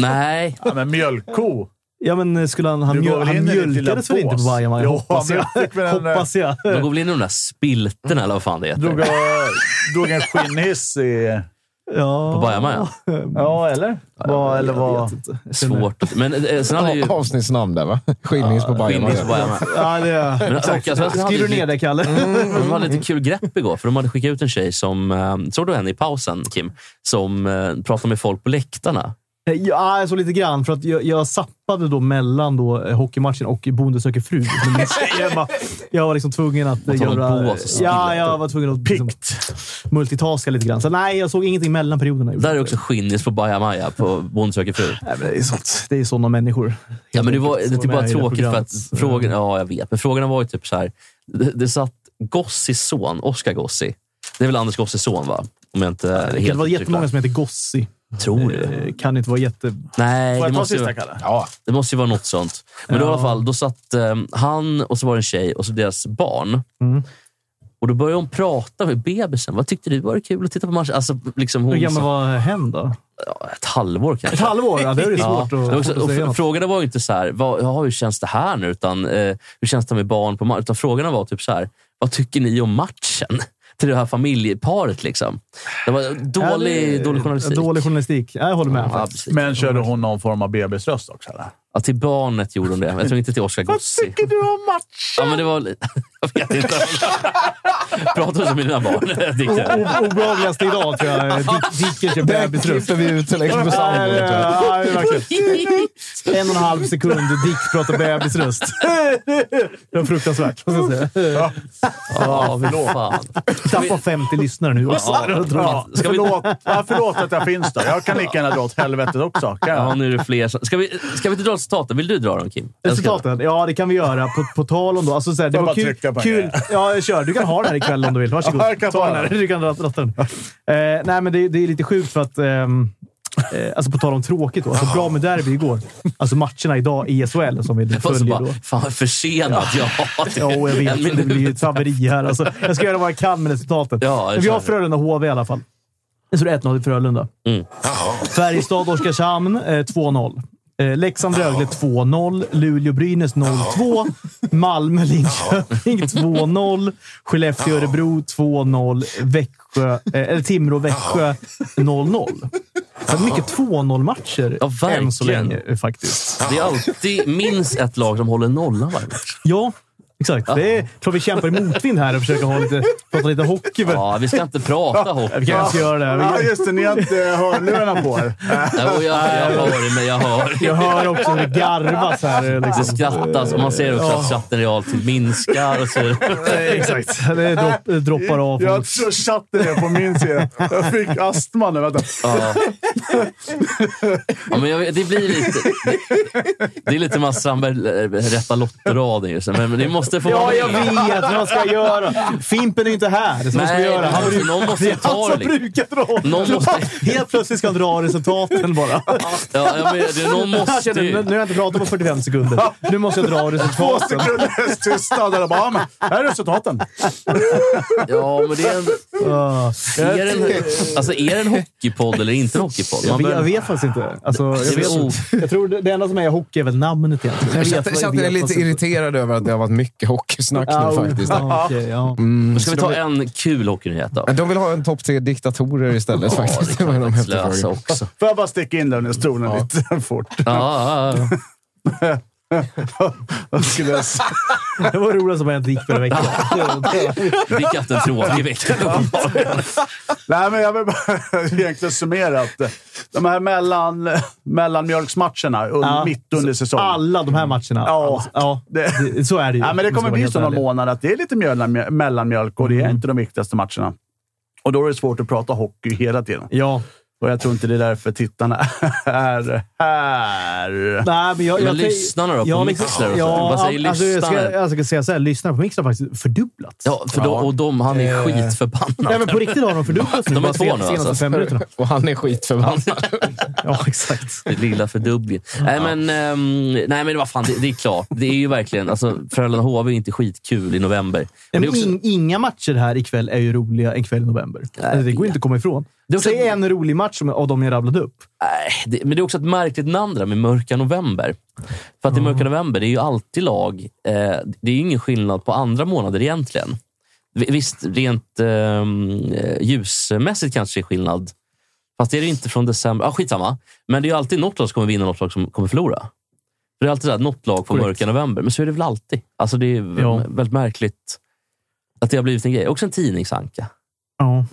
S3: Nej,
S2: ja, men mjölkko.
S1: Ja, men eh, skulle han... Han,
S2: Du går
S1: mjöl,
S2: väl
S1: han
S2: in i ditt lilla
S1: mjölkades väl inte på
S2: bås?
S1: bajamajor?
S2: Jo,
S1: hoppas jag.
S2: han fick väl en, eh,
S1: hoppas jag.
S3: de går väl in i de där spilterna eller vad fan det
S2: Drog,
S3: heter.
S2: jag- drog en skinnhiss i...
S1: Ja.
S3: På bajamajor.
S2: Ja, eller? Vad- eller
S1: Jag
S2: vad?
S1: vet inte. Jag känner-
S3: Svårt. att- Men eh, sen hade ju...
S4: Avsnittsnamn där, va? Skiljnings på
S3: Skinnings på
S4: Bajen.
S3: bajamajor.
S1: Ja, det
S3: Men Mm.
S1: är...
S3: Håkan Svensson hade
S1: Skriver
S3: ju
S1: du ner
S3: lite-
S1: det, Kalle?
S3: de hade lite kul grepp igår, för de hade skickat ut en tjej som, eh, såg du henne i pausen Kim, som eh, pratade med folk på läktarna?
S1: Eh, Ja, så lite grann. För att jag, jag zappade då mellan då eh, hockeymatchen och Bonde söker
S3: *laughs*
S1: fru. Men min tjej, jag, var, jag var liksom tvungen att eh,
S3: tar de
S1: göra...
S3: bås och spiller.
S1: Ja, jag var tvungen att liksom, multitaska lite grann. Så nej, jag såg ingenting mellan perioderna.
S3: Där är också skinnis på bajamaja på Bonde söker fru.
S1: Nej, men det är sånt. Det är sådana människor.
S3: Ja, men det var
S1: Helt
S3: det är typ
S1: enkelt. Som
S3: bara
S1: är i
S3: tråkigt för
S1: programmet. Mm.
S3: att frågan, ja, jag vet, men frågorna var ju typ så här. Det, det satt Gossis son, Oscar Gossi. Det är väl Anders Gossis son, va? Om jag inte är
S1: Det
S3: helt
S1: var
S3: typ. ute och
S1: jättemånga
S3: cyklar.
S1: som heter Gossi.
S3: Tror du?
S1: Eh, Kan inte vara jätte...
S3: Nej,
S2: Får
S3: det
S2: jag ta
S3: måste,
S2: sista,
S3: ju,
S2: Kalle?
S4: Ja,
S3: det måste ju vara något sånt. Men då i
S1: Ja.
S3: alla fall, då satt eh, han och så var det en tjej och så deras barn.
S1: Mm.
S3: Och då började hon prata med bebisen. Vad tyckte du? Var det kul att titta på matchen? Alltså, liksom
S1: Hur
S3: hon,
S1: gammal var hen då?
S3: ja, ett halvår kanske.
S1: Ett halvår? Ja, det är ju
S3: *laughs* Ja,
S1: svårt
S3: det var
S1: att,
S3: också,
S1: svårt
S3: och
S1: att
S3: fr-
S1: säga något.
S3: frågorna var ju inte så här, vad, ja, hur känns det här nu? Utan eh, hur känns det med barn på matchen? Utan frågorna var typ så här, vad tycker ni om matchen? *laughs* Till det här familjeparet liksom. Det var dålig,
S1: Ja, det-
S3: dålig journalistik.
S1: Dålig journalistik. Ja, Jag håller med.
S3: ja,
S1: faktiskt.
S3: precis.
S2: Men körde hon någon form av bebisröst också? Eller?
S3: ja, till barnet gjorde hon det. Jag tror inte till Oscar Gossi.
S2: du om
S3: Ja,
S2: matchen?
S3: men det var... li- *laughs* Jag vet inte. *laughs* Pratar som mina barn. *laughs* tyckte jag.
S1: O- Obehagligaste idag
S2: *laughs*
S1: tror jag. Dick- Dicken kör
S4: det
S1: bebisröst.
S4: klipper vi ut och lägger på
S1: Nej,
S4: sanden. tror jag.
S1: ja, det är verkligen. En och en halv sekund Dick pratar
S2: *laughs*
S1: bebisröst. Det var fruktansvärt. måste jag säga.
S3: Ja, fy fan.
S1: Tappa 50 lyssnare nu. Alltså,
S2: Ja,
S3: Ska vi-
S2: förlåt, ja, förlåt att jag finns där. Jag kan lika gärna dra åt helvetet också. Kan
S3: Ja,
S2: jag?
S3: nu är det fler som... Ska vi, ska vi inte dra resultaten? Vill du dra dem, Kim? Eller ska jag?
S1: Resultaten? Ja, det kan vi göra. På, på tal om då. Alltså, så här, det
S2: Får jag
S1: var
S2: bara
S1: kul.
S2: trycka på en
S1: kul.
S2: grej?
S1: Ja, kör. Du kan ha den här ikväll om du vill. Varsågod.
S2: *laughs* Ja, jag kan
S1: Ta
S2: ta
S1: den här.
S2: den.
S1: Du kan dra- dra den. Eh, nej, men det, det är lite sjukt för att... ehm, eh, alltså på tal om tråkigt då. Alltså bra med derby igår. Alltså matcherna idag i SHL som vi
S3: Och så
S1: följer då.
S3: bara, fan vad försenat jag har.
S1: Ja, och jag vet. men Det blir ju ett haveri här. Alltså, jag ska göra vad jag kan med resultatet.
S3: Ja, det
S1: Men vi har
S3: kör vi.
S1: Frölunda HV i alla fall. Jag tror det är 1-0 till Frölunda.
S3: Mm.
S1: Färjestad-Oskarshamn eh, 2-0. Eh, Leksand-Rögle 2-0. Luleå-Brynäs 0-2. Malmö-Linköping 2-0. Skellefteå-Örebro 2-0. Växjö, eh, eller Timrå-Växjö 0-0. Så det är mycket 2-0-matcher
S3: Ja,
S1: än så
S3: verkligen.
S1: länge eh, faktiskt.
S3: Det är alltid minst ett lag som håller nollan varje match.
S1: Ja, exakt. Det är klart vi kämpar i motvind här och försöker ha lite, prata lite hockey. men-
S3: Ja, vi ska inte prata hockey.
S1: Vi
S3: Nej,
S1: kanske ska göra det.
S2: Ja,
S1: Vi-
S2: just det. Ni har inte hörlurarna på er.
S3: och Jag, jag hör men jag hör.
S1: Jag hör också hur det garvas här.
S3: Det
S1: Liksom.
S3: skrattas och man ser också att chatten realtid minskar. Och så.
S1: Exakt. Det dropp, droppar av.
S2: Jag tror chatten är på min sida. Jag fick astma nu. Vänta.
S3: Ja. Ja, men jag, vet- det blir lite... Det, det är lite Mats Strandberg eh, rätta lottoraden just nu, men men det måste måste få
S1: Ja,
S3: vara
S1: jag
S3: med.
S1: vet vad jag ska göra. Fimpen är ju inte här. Så vad ska vi
S3: Nej,
S1: göra? Han,
S3: alltså, någon måste
S1: det är
S3: ta
S1: han som
S3: det.
S1: brukar dra.
S3: Någon måste-
S1: Helt plötsligt ska han dra resultaten bara.
S3: Ja, jag menar, det, någon
S1: Jag
S3: måste
S1: känner, nu
S3: ju...
S1: nu har jag inte pratat på 45 sekunder. Nu måste jag dra
S2: Två
S1: resultaten.
S2: sekunders tystnad. och bara, Ja, men här är resultaten.
S3: Ja, men det är en,
S1: Ah.
S3: är det en, alltså, är det en hockeypodd eller inte en hockeypodd?
S1: Jag
S3: Man
S1: vet, jag
S3: bör,
S1: vet faktiskt inte. Alltså, jag,
S3: Det är o-
S1: vet, jag tror det, det enda som är hockey är väl namnet egentligen.
S4: Jag
S1: vet
S4: känner,
S1: vad-
S4: jag känner mig
S1: vet
S4: lite
S1: vad som-
S4: irriterad över att det har varit mycket hockeysnack
S1: Ja, oh.
S4: nu faktiskt.
S1: ja, okej, ja.
S2: Mm.
S3: ska vi ta en kul hockeynyhet då?
S4: De vill ha en topp tre diktatorer istället
S3: Ja,
S4: faktiskt.
S3: det
S4: Det var de
S3: kan faktiskt
S4: efterfrågade.
S3: lösa också.
S2: Får jag bara sticka in där under stolen lite *laughs* fort?
S3: Ja, ja, ja.
S2: Vad skulle jag säga?
S1: Det var roligt som har hänt gick förra
S2: *laughs*
S1: veckan.
S3: Vi kan inte en tråkig vecka.
S2: Nej, men jag vill bara *laughs* egentligen summera att eh, de här mellan, eh, mellanmjölksmatcherna un,
S1: Ja.
S2: mitt under säsongen.
S1: Alla de här matcherna. Alltså,
S2: Ja.
S1: ja
S2: Det-
S1: det, så är det ju.
S2: Ja, men det
S1: om jag
S2: kommer
S1: ska
S2: bli
S1: vara
S2: så
S1: helt
S2: någon
S1: ärlig.
S2: månad att det är lite mjöl- mellanmjölk och det är inte de viktigaste matcherna. Och då är det svårt att prata hockey hela tiden.
S1: Ja.
S2: Och jag tror inte det är därför tittarna *laughs* är här.
S1: Nej, men jag,
S3: Men
S1: jag,
S3: lyssnarna då? På
S1: ja,
S3: Mixler och så?
S1: Ja,
S3: Vad säger
S1: alltså, jag, ska,
S3: lyssnarna?
S1: jag ska säga så här, lyssnarna på Mixler har faktiskt fördubblats.
S3: Ja, för då, och de, han är
S4: Eh.
S1: Nej, men
S3: skitförbannad.
S1: på riktigt har de fördubblats nu.
S3: De är
S1: bara
S3: två
S1: sen-
S3: nu,
S1: Senaste
S3: alltså.
S1: fem
S3: *laughs*
S1: minuterna.
S4: Och han är skitförbannad.
S1: Ja, exakt.
S3: Lilla fördubblingen. Nej, men, ehm, nej, men vad fan, det, det är klart. Det är ju verkligen... Alltså, Frölunda-HV är inte skitkul i november. Men
S1: Men
S3: det är också,
S1: in, inga matcher här ikväll är ju roliga en kväll i november. Alltså, det går inte att komma ifrån.
S3: Det är också-
S1: Säg en rolig match som- av de jag rabblade upp.
S3: Nej, Äh, det, men det är också ett märkligt namn det där med Mörka November. För att i
S1: Mm.
S3: Mörka November, det är ju alltid lag. Eh, det är ju ingen skillnad på andra månader egentligen. Vi- Visst, rent ehm, eh, ljusmässigt kanske det är skillnad. Fast det är det ju inte från december. Ah, skitsamma. Men det är ju alltid något lag som kommer vinna och något lag som kommer förlora. För det är alltid så här, något lag på
S1: Korrekt.
S3: Mörka November. Men så är det väl alltid. Alltså det är v-
S1: Ja.
S3: väldigt märkligt att det har blivit en grej. Också en tidningsanka.
S1: Ja,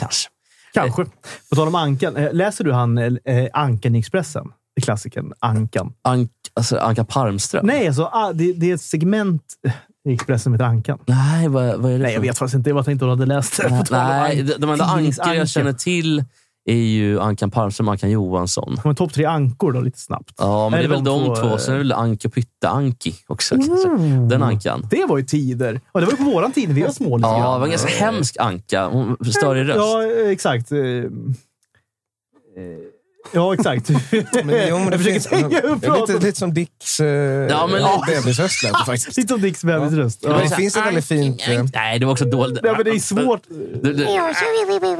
S3: Kanske.
S1: kanske. På tal om Ankan. eh, Läser du han eh, Ankan i Expressen? Klassikern Ankan.
S3: Ank, alltså Anka Parmström.
S1: Nej, alltså, ah, det, det är ett segment eh, i Expressen som heter Ankan.
S3: Nej, vad, vad är det
S1: Nej,
S3: för
S1: jag vet faktiskt inte. Jag bara tänkte att du hade läst det. *laughs* På tal om
S3: Nej,
S1: Ankan.
S3: de de enda ankor
S1: Tidningsankan.
S3: jag känner till är ju Ankan Palmström och Ankan Johansson.
S1: Kommer topp tre ankor då, lite snabbt.
S3: Ja, men
S1: Är
S3: det är
S1: det
S3: väl
S1: de
S3: de
S1: två,
S3: två.
S1: eh? Mm.
S3: Sen är det väl Anka Pytte-Anki också. kanske. Mm. Den Ankan.
S1: Det var ju tider. Ja, det var ju på våran tid när vi var små. lite
S3: Ja,
S1: grann.
S3: det var en ganska hemsk Anka. Hon större röst.
S1: Ja, eh, exakt. Eh, eh, Ja, exakt. *laughs*
S4: Men, jo, men det
S1: *laughs* jag försöker
S4: finns-
S1: tänka hur jag
S4: det är
S1: pratar.
S4: lite, lite som Dicks eh,
S3: Ja, men
S4: ja,
S3: lite.
S4: bebishöst lät det faktiskt.
S1: Lite som Dicks bebisröst.
S4: Men
S1: Ja.
S4: det finns ett väldigt fint... eh,
S3: Nej, det var också dåligt.
S1: Nej, men det är svårt.
S3: Du, du.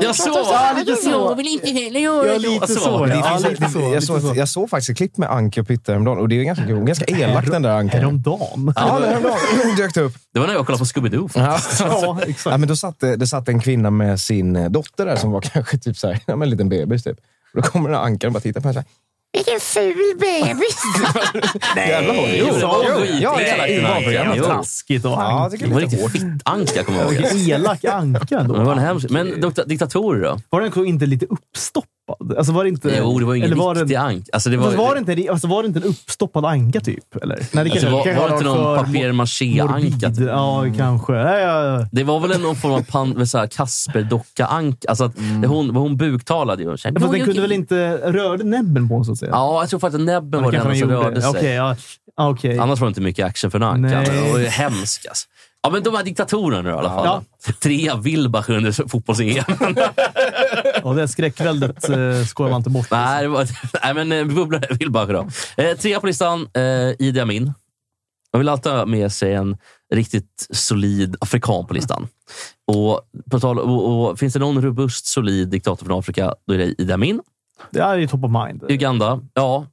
S3: Jag sov!
S1: Ja, lite så.
S5: Jag vill inte heller göra
S1: Ja,
S5: det.
S1: lite
S3: så.
S1: så.
S4: Det
S1: Ja,
S4: finns ett-
S1: lite så.
S4: jag, såg,
S1: lite
S4: ett-
S1: så.
S4: jag såg faktiskt ett klipp med Anka och Pytte häromdagen och det är ganska, hon är ganska elak den där Ankan.
S1: Häromdagen.
S4: Ja, men häromdagen *laughs* hon dök det upp.
S3: Det var när jag kollade på Scooby-Doo.
S4: *laughs* Ja.
S1: Ja,
S4: Ja,
S1: exakt.
S4: men då satt, det det satt en kvinna med sin eh, dotter där som var *laughs* kanske typ så här, ja, men en liten bebis. Typ. Då kommer den här Ankan och bara tittar på henne.
S5: Vilken ful bebis.
S4: Jävla hår.
S3: Jo, det var
S4: jo,
S3: skit-
S4: ja,
S3: elakt,
S4: jo,
S3: Ankan.
S4: jo.
S3: Jo.
S1: Taskigt och
S4: Ja,
S1: han.
S4: jag tycker
S3: Det var
S4: det är
S3: riktigt
S4: lite hårt.
S3: fitt-Anka, kommer jag ihåg.
S1: Vilken elak anka
S3: Det var en
S1: då.
S3: hemsk. Men doktor- diktatorer då?
S1: Var den inte lite uppstoppad? Alltså var det inte...
S3: Jo, det var ju
S1: eller
S3: ingen
S1: var
S3: riktig
S1: den-
S3: Anka. Alltså, det
S1: Fast var det
S3: var,
S1: inte, en- alltså var det inte en uppstoppad anka typ? Eller? Nej, det
S3: alltså,
S1: kanske-
S3: var,
S1: kanske
S3: var det inte någon typ? Mm.
S1: för
S3: papier
S1: morbid.
S3: maché-Anka?
S1: Ja, kanske. Ja, ja, ja.
S3: Det var väl någon form av pan, med så här Kasper-docka Anka. Alltså att hon, hon buktalade ju.
S1: Mm. Ja, Fast den kunde väl inte rörde näbben på honom, så att säga?
S3: Ja, jag tror faktiskt att näbben var
S1: det
S3: den
S1: kanske
S3: enda
S1: den
S3: som
S1: gjorde.
S3: rörde sig.
S1: Okej, ja. Ah, okej.
S3: Annars var det inte mycket action för en anka.
S1: Nej.
S3: Det var ju hemskt alltså. Ja, men de här diktatorerna nu i alla fall.
S1: Ja.
S3: Trea Wilbach under fotbolls-EM.
S1: Ja, det skräckväldet eh, skojar man inte bort.
S3: nej, det var, *laughs* nej, men eh, vi bubblar Wilbach då. Eh, trea på listan, eh, Idi Amin. Man vill alltid ha med sig en riktigt solid afrikan på listan. Och, på tal, och, och, finns det någon robust, solid diktator från Afrika, då är det Idi Amin.
S1: Det här är ju top of mind.
S3: Uganda, ja.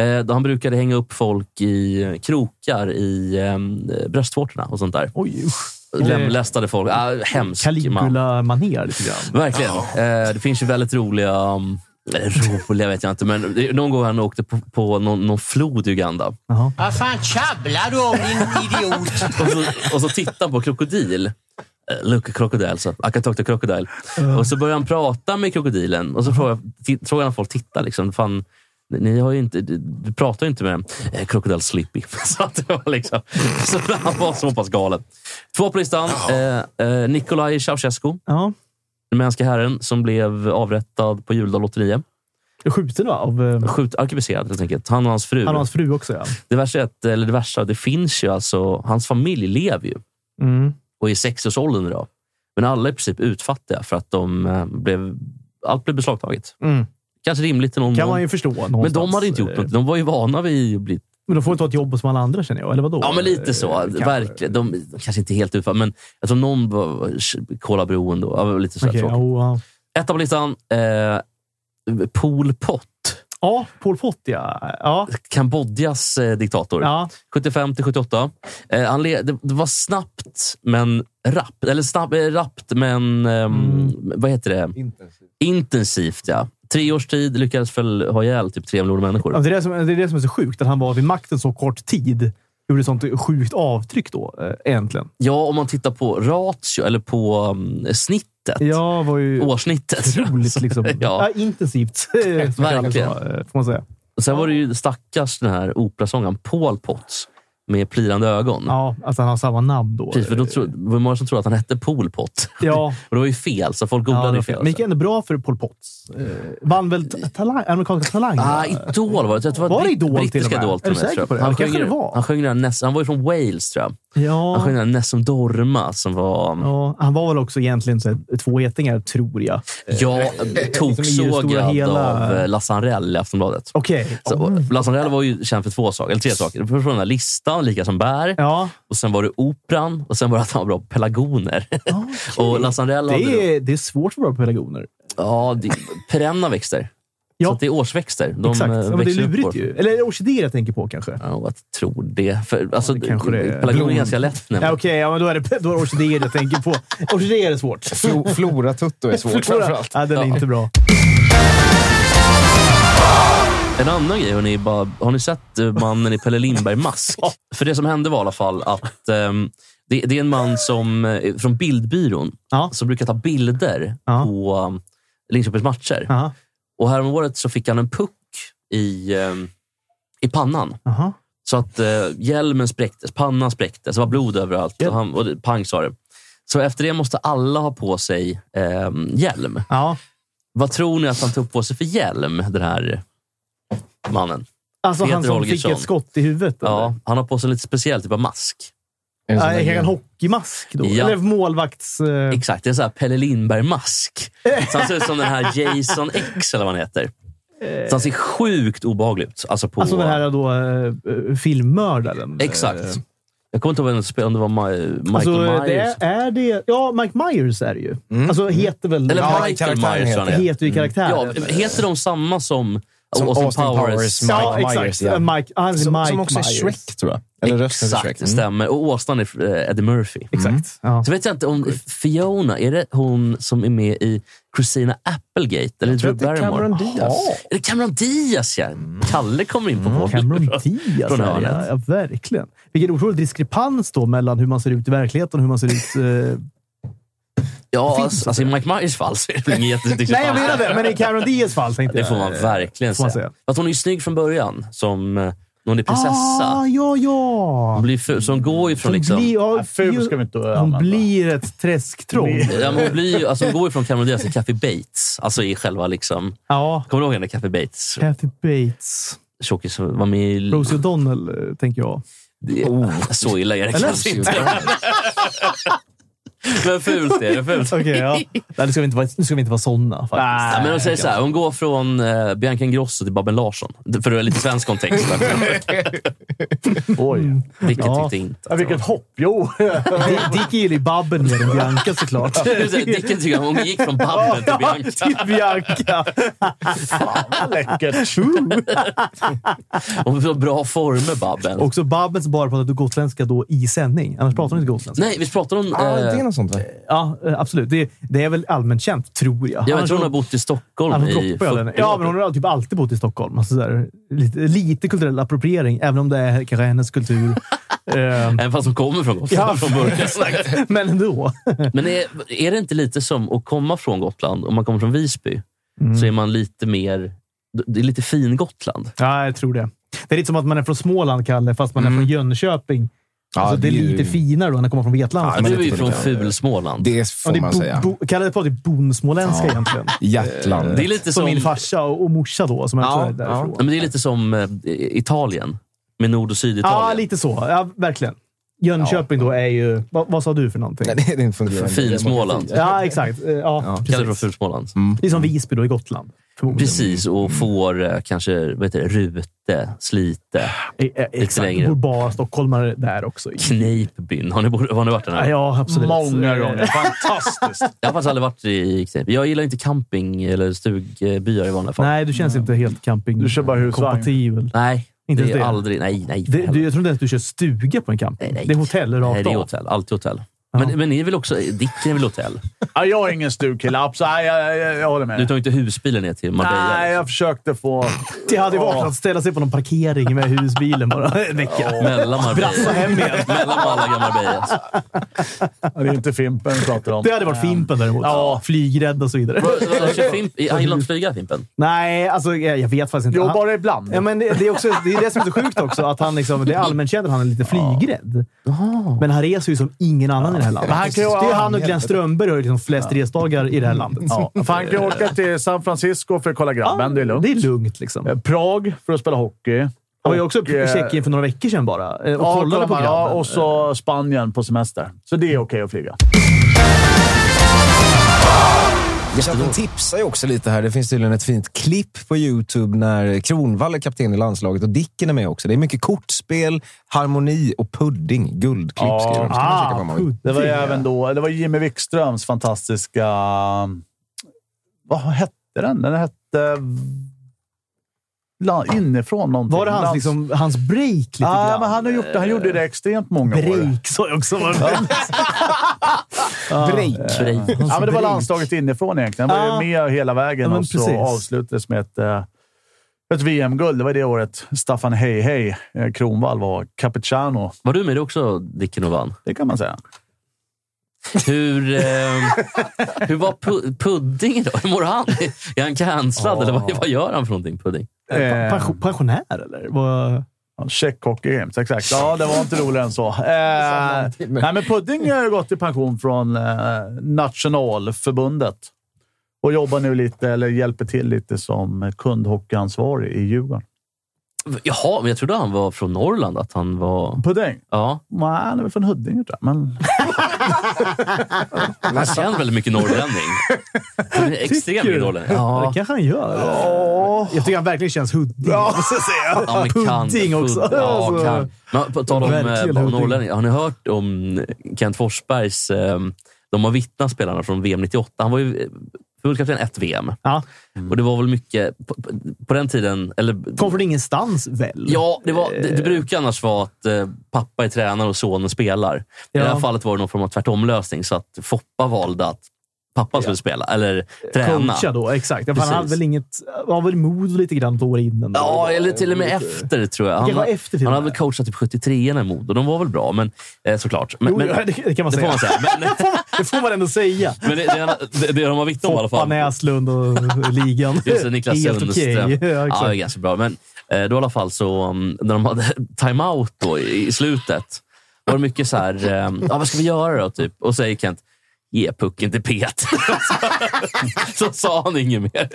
S3: Eh, han brukade hänga upp folk i krokar i eh, bröstvårtorna och sånt där.
S1: Oj, usch.
S3: Lemlästade folk. Ah, hemsk man.
S1: Caligula-manér lite grann.
S3: Verkligen. Eh, det finns ju väldigt roliga... Um, eller roliga vet jag inte, men det- någon gång han åkte på, på någon, någon flod i Uganda.
S1: Jaha.
S5: Vad fan tjabblar du om din idiot?
S3: Och så, och så tittade han på krokodil. Eh, Look a crocodile, så. I can talk to crocodile. Och så började han prata med krokodilen och så frågade, ti- frågade han folk titta. Liksom. Fan, ni har ju inte, du, du pratar ju inte med eh, Crocodile Slippy. *laughs* Så att det var liksom, så han var så pass galen. Två på listan. Eh, eh, Nikolaj Ceausescu,
S1: Ja.
S3: den mänskliga herren som blev avrättad på juldag lotteri.
S1: Skjuten va? av eh,
S3: Skjut, arkiviserad helt enkelt. Han och hans fru.
S1: han och hans fru också. Ja.
S3: Det värsta är att, eller det värsta, det finns ju alltså, hans familj lever ju
S1: Mm.
S3: och är i sexårsåldern idag. Men alla är i princip utfattiga för att de eh, blev, allt blev beslagtaget.
S1: Mm.
S3: Kanske rimligt i någon
S1: Kan
S3: mån.
S1: man ju förstå någonstans.
S3: Men de hade inte gjort
S1: Eh,
S3: något. De var ju vana vid att bli...
S1: Men de får inte ha ett jobb som alla andra känner jag, eller vadå?
S3: Ja, men lite
S1: Eh,
S3: så.
S1: kanske.
S3: Verkligen. De, de kanske inte helt utfattiga, men jag tror någon var kolaberoende. och- ja, Lite sådär
S1: Okej, ja,
S3: tråkigt.
S1: oh, ja.
S3: Etta på listan. Eh, Pol Pot.
S1: ja, Pol Pot ja. ja.
S3: Kambodjas eh, diktator.
S1: ja.
S3: 75 till 78. Eh, han le- det, det var snabbt, men rappt. Eller snabbt, eh, rappt, men... ehm,
S1: Mm.
S3: Vad heter det? Intensivt, ja. Tre års tid lyckades väl ha ihjäl typ tre miljoner människor.
S1: Ja, Det, är det, som, det är det som är så sjukt, att han var vid makten så kort tid. Gjorde sånt sjukt avtryck då, eh, egentligen.
S3: Ja, om man tittar på ratio, eller på um, snittet.
S1: Ja, var ju
S3: Årssnittet.
S1: otroligt
S3: Så- *laughs*
S1: liksom.
S3: ja.
S1: ja. intensivt. *laughs* eh, som man kallar det så, eh, Får man säga.
S3: Och Sen var det ju stackars den här operasångaren Paul Potts med plirande ögon.
S1: Ja, att han har samma namn då.
S3: Precis, för då tro, det var många som trodde att han hette Pol Pot.
S1: Ja.
S3: *laughs* Och det var ju fel, så folk
S1: Ja,
S3: googlade
S1: det
S3: ju
S1: var
S3: fel. alltså?
S1: fel. Men gick ändå bra för Pol Potts. Eh, vann väl ta- talang, amerikanska talang?
S3: Ah,
S1: va?
S3: Idol var det. Jag tror
S1: Var det
S3: britt-
S1: Idol
S3: brittiska
S1: till och med?
S3: Idol
S1: Är du
S3: med,
S1: säker
S3: tror jag.
S1: på det?
S3: Han
S1: Det
S3: sjöng,
S1: kanske
S3: ju-
S1: det var.
S3: han sjöng den här Ness, Han var ju från Wales, tror jag. Han
S1: ja.
S3: sjöng den här Nessun Dorma som var...
S1: ja. Han var väl också egentligen så här, två getingar, tror jag. *laughs*
S3: Ja, toksågad
S1: hela- mm.
S3: av eh, Lasse Anrell i Aftonbladet.
S1: Okej.
S3: Så, och Lasse Anrell var ju känd för två saker, eller tre saker. Först var den här listan, lika som bär.
S1: Ja.
S3: Och sen var det operan och sen var det att han var bra på pelargoner. och Lasse Anrell hade då-
S1: Det är, det är svårt för våra pelargoner.
S3: Ja, det, perenna växter.
S1: Ja.
S3: Så att det är årsväxter. De
S1: Exakt.
S3: eh,
S1: Ja, men det är
S3: växer upp år
S1: lurigt
S3: för-
S1: ju. Eller är det orkidéer jag tänker på kanske?
S3: Ja, jag tror det. För, alltså,
S1: det kanske det är.
S3: Pelargoner är ganska lätt. nämligen.
S1: Ja, Okej, ja, men då är det, då är det orkidéer jag tänker
S3: *laughs*
S1: på. Orkidéer är svårt.
S4: Flo- Floratutto är svårt framförallt.
S1: Ja, den är
S3: Ja.
S1: inte bra.
S3: En annan grej, hörni, bara, har ni sett eh, mannen i
S1: *laughs*
S3: Pelle Lindberg-mask? För det som hände var i alla fall att ehm, det, det är en man som eh, från Bildbyrån
S1: Ja.
S3: som brukar ta bilder
S1: Ja.
S3: på um, Linköpings matcher.
S1: Aha.
S3: Och häromåret så fick han en puck i, ehm, i pannan.
S1: Aha.
S3: Så att eh, hjälmen spräcktes, pannan spräcktes, det var blod överallt. Och han, och det, pang sa det. Så efter det måste alla ha på sig ehm, hjälm.
S1: Ja.
S3: Vad tror ni att han tog på sig för hjälm, den här mannen?
S1: Alltså
S3: Peter
S1: han som
S3: Holgersson.
S1: fick ett skott i huvudet?
S3: Ja,
S1: eller?
S3: han har på sig en lite speciell typ av mask.
S4: En sån
S1: Ja,
S4: där
S1: jag kan en
S4: grej.
S1: hockeymask då?
S3: Ja.
S1: Eller målvakts... Eh,
S3: Exakt, det är en sån här Pelle Lindberg-mask. Så han ser ut som den här Jason X, eller vad han heter. Så han ser sjukt obehaglig ut. Alltså, på,
S1: Eh. alltså den här då, eh, filmmördaren.
S3: Exakt. Jag kommer inte ihåg vem som spelade, om det var Ma- Michael
S1: Alltså,
S3: Myers. Mm.
S1: det är, är det... Ja, Mike Myers är det ju. Alltså heter väl...
S3: Eller
S1: ja,
S3: Michael
S4: karaktären
S3: Myers,
S4: heter
S3: tror jag han är.
S1: heter ju karaktären.
S3: Ja, heter de samma som,
S4: Som
S3: Austin,
S4: Austin
S3: Powers?
S4: Powers. Mike
S1: ja, exakt.
S4: Myers, ja.
S1: Mike, han är
S4: Som,
S1: Mike
S4: som också är
S1: Myers.
S4: Shrek, tror jag. Eller rösten för
S3: Exakt,
S4: Shrek.
S3: det
S1: Mm.
S4: *laughs*
S3: stämmer. Och åsnan är eh, Eddie Murphy.
S1: Exakt. Mm. Ja.
S3: Så vet jag inte om Fiona, är det hon som är med i Christina Applegate? Eller Drew Barrymore?
S4: Cameron Diaz.
S3: Ja. Är det Cameron Diaz, ja. Kalle kommer in på mm,
S1: Cameron Diaz.
S3: Från
S1: är det,
S3: hörnet.
S1: Ja, verkligen. Vilken otrolig diskrepans då mellan hur man ser ut i verkligheten och hur man ser
S3: *laughs*
S1: ut... Eh...
S3: Ja,
S1: Finns
S3: alltså, alltså, i Mike Myers fall så är det väl ingen jättediskrepans.
S1: Nej, jag menar det. Men i Cameron Diaz fall tänkte
S3: Det
S1: jag.
S3: får man verkligen
S1: Får man
S3: säga.
S1: säga.
S3: Att hon är ju snygg från början, som eh, när hon är
S1: Ah,
S3: prinsessa.
S1: ja,
S3: Hon
S1: ja.
S3: blir ful, så hon går ju
S1: Hon
S3: från...
S1: blir,
S3: Liksom,
S1: ja,
S2: Nej, Äh, Ful ska vi inte
S1: hon
S2: använda.
S1: blir ett träsktroll.
S3: ja, men hon, blir, ju- alltså, hon går ju från Cameron Diaz till Kathy Bates. Alltså i själva... liksom...
S1: Ja.
S3: Kommer du ihåg henne, Kathy Bates?
S1: Kathy Bates.
S3: Tjockis som var med i...
S1: Rosie O'Donnell, eh, tänker jag.
S3: Det, Så illa är det kanske inte. Men fult är det. Fult.
S1: Okej, ja. *laughs* Nej, nu ska vi inte vara, nu ska vi inte vara såna faktiskt.
S3: Ja, men hon säger så här, hon går från eh, Bianca Ingrosso till Babben Larsson. För det är lite svensk kontext.
S2: Oj.
S3: Vilket
S1: Ja.
S3: tyckte inte.
S2: Ja, vilket hopp! Jo!
S1: Dick- Dick gillar ju Babben mer än Bianca såklart.
S3: Dicken tycker att hon gick från Babben till
S1: Ja,
S3: Bianca.
S1: till Bianca.
S2: Fan,
S1: *laughs*
S2: vad läckert!
S3: Hon var i bra former, Babben.
S1: Också Babbens bara pratade gotländska då i sändning. Annars pratar hon inte gotländska.
S3: Nej, visst pratar hon...
S4: Ah, det är
S3: eh,
S4: något sånt, va?
S1: Ja, eh, absolut. Det, det är väl allmänt känt, tror jag.
S3: jag
S1: Annars-
S3: tror hon har bott i Stockholm
S1: Annars
S3: i
S1: droppar jag den.
S3: 40
S1: Ja,
S3: år.
S1: men hon har typ alltid bott i Stockholm. Alltså, så här, lite, lite kulturell appropriering, även om det är kanske hennes kultur. Eh,
S3: Även fast hon kommer från Gotland
S1: Ja.
S3: från början.
S1: men ändå.
S3: Men är, är det inte lite som att komma från Gotland, om man kommer från Visby, så är man lite mer... Det är lite fin Gotland.
S1: Ja, jag tror det. Det är lite som att man är från Småland, Kalle, fast man är från Jönköping.
S4: Ja,
S1: alltså, det är
S4: ju-
S1: lite finare då än att komma från Vetlanda.
S4: Ja, men
S3: du är ju
S4: det-
S3: från Fulsmåland. Det,
S4: Det
S1: Ja,
S4: får
S1: Alltså, det är
S4: man
S1: bo-
S4: säga.
S1: bo- kallar det på det bondsmåländska
S4: Ja.
S1: egentligen.
S4: Hjärtland.
S3: är lite
S1: Som
S3: som,
S1: min farsa och, och morsa då, som också
S4: Ja,
S1: är därifrån.
S3: Nej, men det är lite som eh, Italien. Med Nord och Syditalien.
S1: Ja, lite så. Ja, verkligen. Jönköping då är ju... Vad, vad sa du för någonting?
S4: Nej, det är en fungerande
S3: Finsmåland.
S4: demokrati.
S1: Ja, exakt. Eh, Ja,
S3: Kallar det för
S1: precis. Mm.
S3: Fulsmåland.
S1: Det är som Visby då i Gotland. förmodligen.
S3: Precis,
S1: Mm.
S3: och får eh, kanske vad heter det, Rute, Slite,
S1: Eh, eh, Exakt.
S3: längre.
S1: Det bor bara stockholmare där också.
S3: Kneippbyn. Har ni, bor- har ni varit där?
S1: Ja,
S3: nu?
S1: Ja, absolut.
S2: Många gånger.
S1: Eh,
S2: Fantastiskt!
S3: Jag har faktiskt aldrig varit i kneipp. Jag gillar inte camping eller stugbyar i vanliga fall.
S1: Nej, du känns inte helt
S2: Du kör bara husvagn.
S1: camping-kompatibel.
S3: Nej,
S1: Inte
S3: det är
S1: ens det?
S3: aldrig. Nej, nej. för
S1: Det,
S3: helvete.
S1: du, jag tror inte ens du kör stuga på en camping.
S3: Nej, nej.
S1: Det är hotell rakt
S3: Nej, det är
S1: av.
S3: hotell. Alltid hotell. Men, men ni är väl också... Dicken är väl hotell?
S2: Ja, jag är ingen stugkille. Absolut. Nej, Jag, jag, jag håller med.
S3: Du tar ju inte husbilen ner till Marbella?
S2: Nej,
S3: liksom.
S2: jag försökte få...
S1: Det hade ju varit
S2: Ja.
S1: att ställa sig på någon parkering med husbilen bara *laughs* en vecka.
S3: Mellan Marbella.
S1: hem igen.
S3: Mellan Malaga och Marbella. alltså.
S2: Det är inte Fimpen vi pratar om.
S1: Det hade varit Fimpen däremot.
S2: Ja.
S1: Flygrädd och så vidare.
S3: Vadå, kör Fimp- Jag gillar inte flyga, Fimpen.
S1: Nej, alltså jag, jag vet faktiskt inte.
S2: Jo,
S1: Han-
S2: bara ibland.
S1: Ja, men det, det, är också, det är det som är så sjukt också, att han liksom, det är allmänkänt att han är lite flygrädd. Men han reser ju som ingen annan i det här landet.
S2: Men han kan ju-
S1: det är han och Glenn Strömberg har ju liksom flest resdagar i det här landet.
S2: Ja. Fan, jag kan åka till San Francisco för att kolla
S1: Ja,
S2: grabben. Det är lugnt.
S1: Det är lugnt liksom.
S2: Eh, Prag för att spela hockey. Han
S1: Han var ju också i Tjeckien för några veckor sedan bara eh, och
S2: eh, Ja,
S1: kollade på
S2: kolla,
S1: grabben.
S2: ja, och så Spanien på semester. Så det är okej att flyga.
S4: Chatten tipsar ju också lite här. Det finns tydligen ett fint klipp på YouTube när Kronwall är kapten i landslaget och Dicken är med också. Det är mycket kortspel, harmoni och pudding. Guldklipp
S2: Ja.
S4: skriver de. Ska man kika på om man vill.
S1: pudding.
S2: Det var ju även då... Det var Jimmy Wikströms fantastiska... Vad hette den? Den hette... La- Inifrån någonting.
S1: Var det hans,
S2: Lands-
S1: liksom, hans break lite
S2: Ja,
S1: grann?
S2: men han, har gjort det. han gjorde det extremt många år.
S1: Break sa jag också.
S2: *laughs*
S4: Break.
S3: Break.
S2: Ja, men det var landslaget inifrån egentligen. Han var ju med hela vägen
S1: Ja, men
S2: och så
S1: precis.
S2: avslutades med ett, eh, ett VM-guld. Det var det året Staffan Hej Hej eh, Kronwall var Capitano.
S3: Var du med det också, Dicken och vann?
S2: Det kan man säga.
S3: Hur, eh, hur var pu- Pudding då? Hur mår han? Är han cancellad eller vad, vad gör han för någonting, Pudding?
S1: Eh, pension- Pensionär eller? Vad-
S2: Ja, Check hockey games, exakt. Ja, det var inte roligare än så. Eh, nej, men Pudding har ju gått i pension från eh, Nationalförbundet och jobbar nu lite, eller hjälper till lite, som kundhockeyansvarig i Djurgården.
S3: Jaha, men jag trodde han var från Norrland. Att han var...
S2: Pudding?
S3: Ja,
S2: Nej, han är väl från Huddinge, tror jag. Men
S3: han känner väldigt mycket norrlänning. Han är Extremt mycket norrlänning.
S1: Ja,
S3: Ja.
S1: det kanske han gör. Jag tycker han verkligen känns Huddinge. Ja, så *laughs* säger
S3: Ja, men kan-
S1: Pudding också.
S3: pud- Ja,
S1: Alltså.
S3: kan. Men på tal om eh,
S1: Verkligen,
S3: bara
S1: Huddinge.
S3: norrlänningar. Har ni hört om Kent Forsbergs... Eh, de har vittnat spelarna från VM 98. Han var ju eh, förbundskapten ett VM.
S1: Ja.
S3: Och det var väl mycket... På, på- på den tiden... Eller,
S1: Kom från ingenstans väl?
S3: Ja, det, var, det, det brukar annars vara att eh, pappa är tränare och sonen spelar. I
S1: Ja.
S3: det här fallet var det någon form av tvärtomlösning, så att Foppa valde att pappa skulle spela, eller träna.
S1: Eh, Coacha då, exakt. Ja, för Han
S3: Precis.
S1: hade väl inget... Han var väl mod lite grann på år innan.
S3: Ja, eller till och med efter, tror jag. Han,
S1: Kanske
S3: har-
S1: efter till och
S3: han hade
S1: med.
S3: väl coachat typ 73 när mod och de var väl bra, men eh, såklart. Men,
S1: Jo,
S3: men,
S1: ja, det, det kan man
S3: det
S1: säga.
S3: får man säga. *laughs* Men,
S1: det får man ändå
S3: *laughs*
S1: säga.
S3: men det, det, det, det de har vittnat om i alla
S1: Foppa,
S3: fall.
S1: Näslund och ligan.
S3: *laughs* Just det, Niklas
S1: Helt okej. *laughs*
S3: Sundström.
S1: Ja,
S3: Ja, det är
S1: exakt.
S3: ganska bra. Men eh, då i alla fall så, um, när de hade *laughs* timeout då i, i slutet, var det mycket så här, ehm, ja, vad ska vi göra då? Typ? Och säger Kent, ge pucken till Peter. *laughs* så sa han inget mer.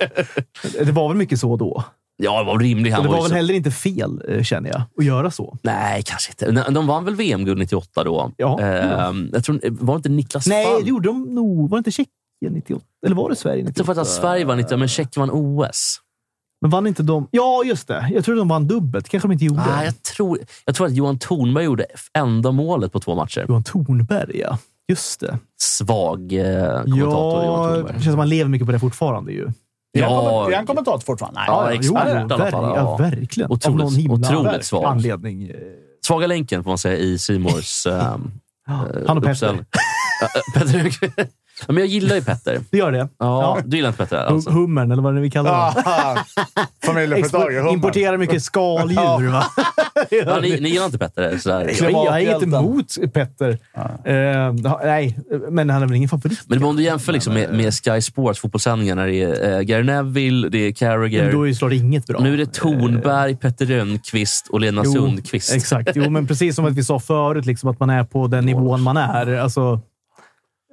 S1: Det var väl mycket så då.
S3: Ja, det var rimligt.
S1: Och
S3: Han
S1: det var
S3: ju
S1: väl
S3: så-
S1: heller inte fel, eh, känner jag, att göra så.
S3: Nej, kanske inte. Nej, De vann väl VM-guld 98 då?
S1: Ja.
S3: Ehm, jag tror, var det inte Niklas
S1: Nej,
S3: Falk?
S1: det gjorde de nog. Var det inte Tjeckien 98? Eller var det Sverige
S3: Jag tror
S1: 98?
S3: faktiskt att Sverige vann inte, men Tjeckien vann OS.
S1: Men vann inte de... Ja, just det. Jag tror de vann dubbelt. kanske de inte gjorde.
S3: Ah, jag, tror, jag tror att Johan Thornberg gjorde enda målet på två matcher.
S1: Johan Tornberg, ja. Just det.
S3: Svag eh, kommentator, Johan
S1: Ja, det
S3: Thornberg.
S1: känns som att man lever mycket på det fortfarande ju.
S2: är han
S3: Ja.
S2: komment- är han kommentator fortfarande? Nej.
S3: Ja,
S1: jo,
S3: expert i alla
S1: verk-
S3: fall, ja.
S1: ja, verkligen. Av
S3: Otroligt-
S1: någon himla
S3: otroligt
S1: verk-
S3: svag.
S1: anledning. eh, *laughs*
S3: Svaga länken får man säga i C Mores eh,
S1: Han och Petter. *laughs*
S3: uppställning. Ja, eh, Petter Högqvist. Ja, Men jag gillar ju Petter.
S1: Det gör det.
S3: Ja, Du gillar inte Petter?
S1: Hum-
S3: Alltså.
S1: Hummern, eller vad det är vi kallar det.
S2: Ah, Familjeföretag.
S1: Expor-
S2: hummer.
S1: Importerar mycket skaldjur, *laughs* va?
S3: Ja, ni, ni gillar inte Petter? Sådär.
S1: Jag, jag är inget
S2: Klimathjälten.
S1: emot Petter. Eh, nej, men han är väl ingen favorit.
S3: Men om du jämför liksom med, med Sky Sports fotbollssändningar när det är eh, Gary Neville, det är Carragher.
S1: Men då är ju slår inget bra.
S3: Nu är det Tornberg, Petter Rönnqvist och Lena
S1: Jo,
S3: Sundqvist.
S1: Exakt. Jo, men precis som att vi sa förut, liksom, att man är på den nivån man är. Alltså,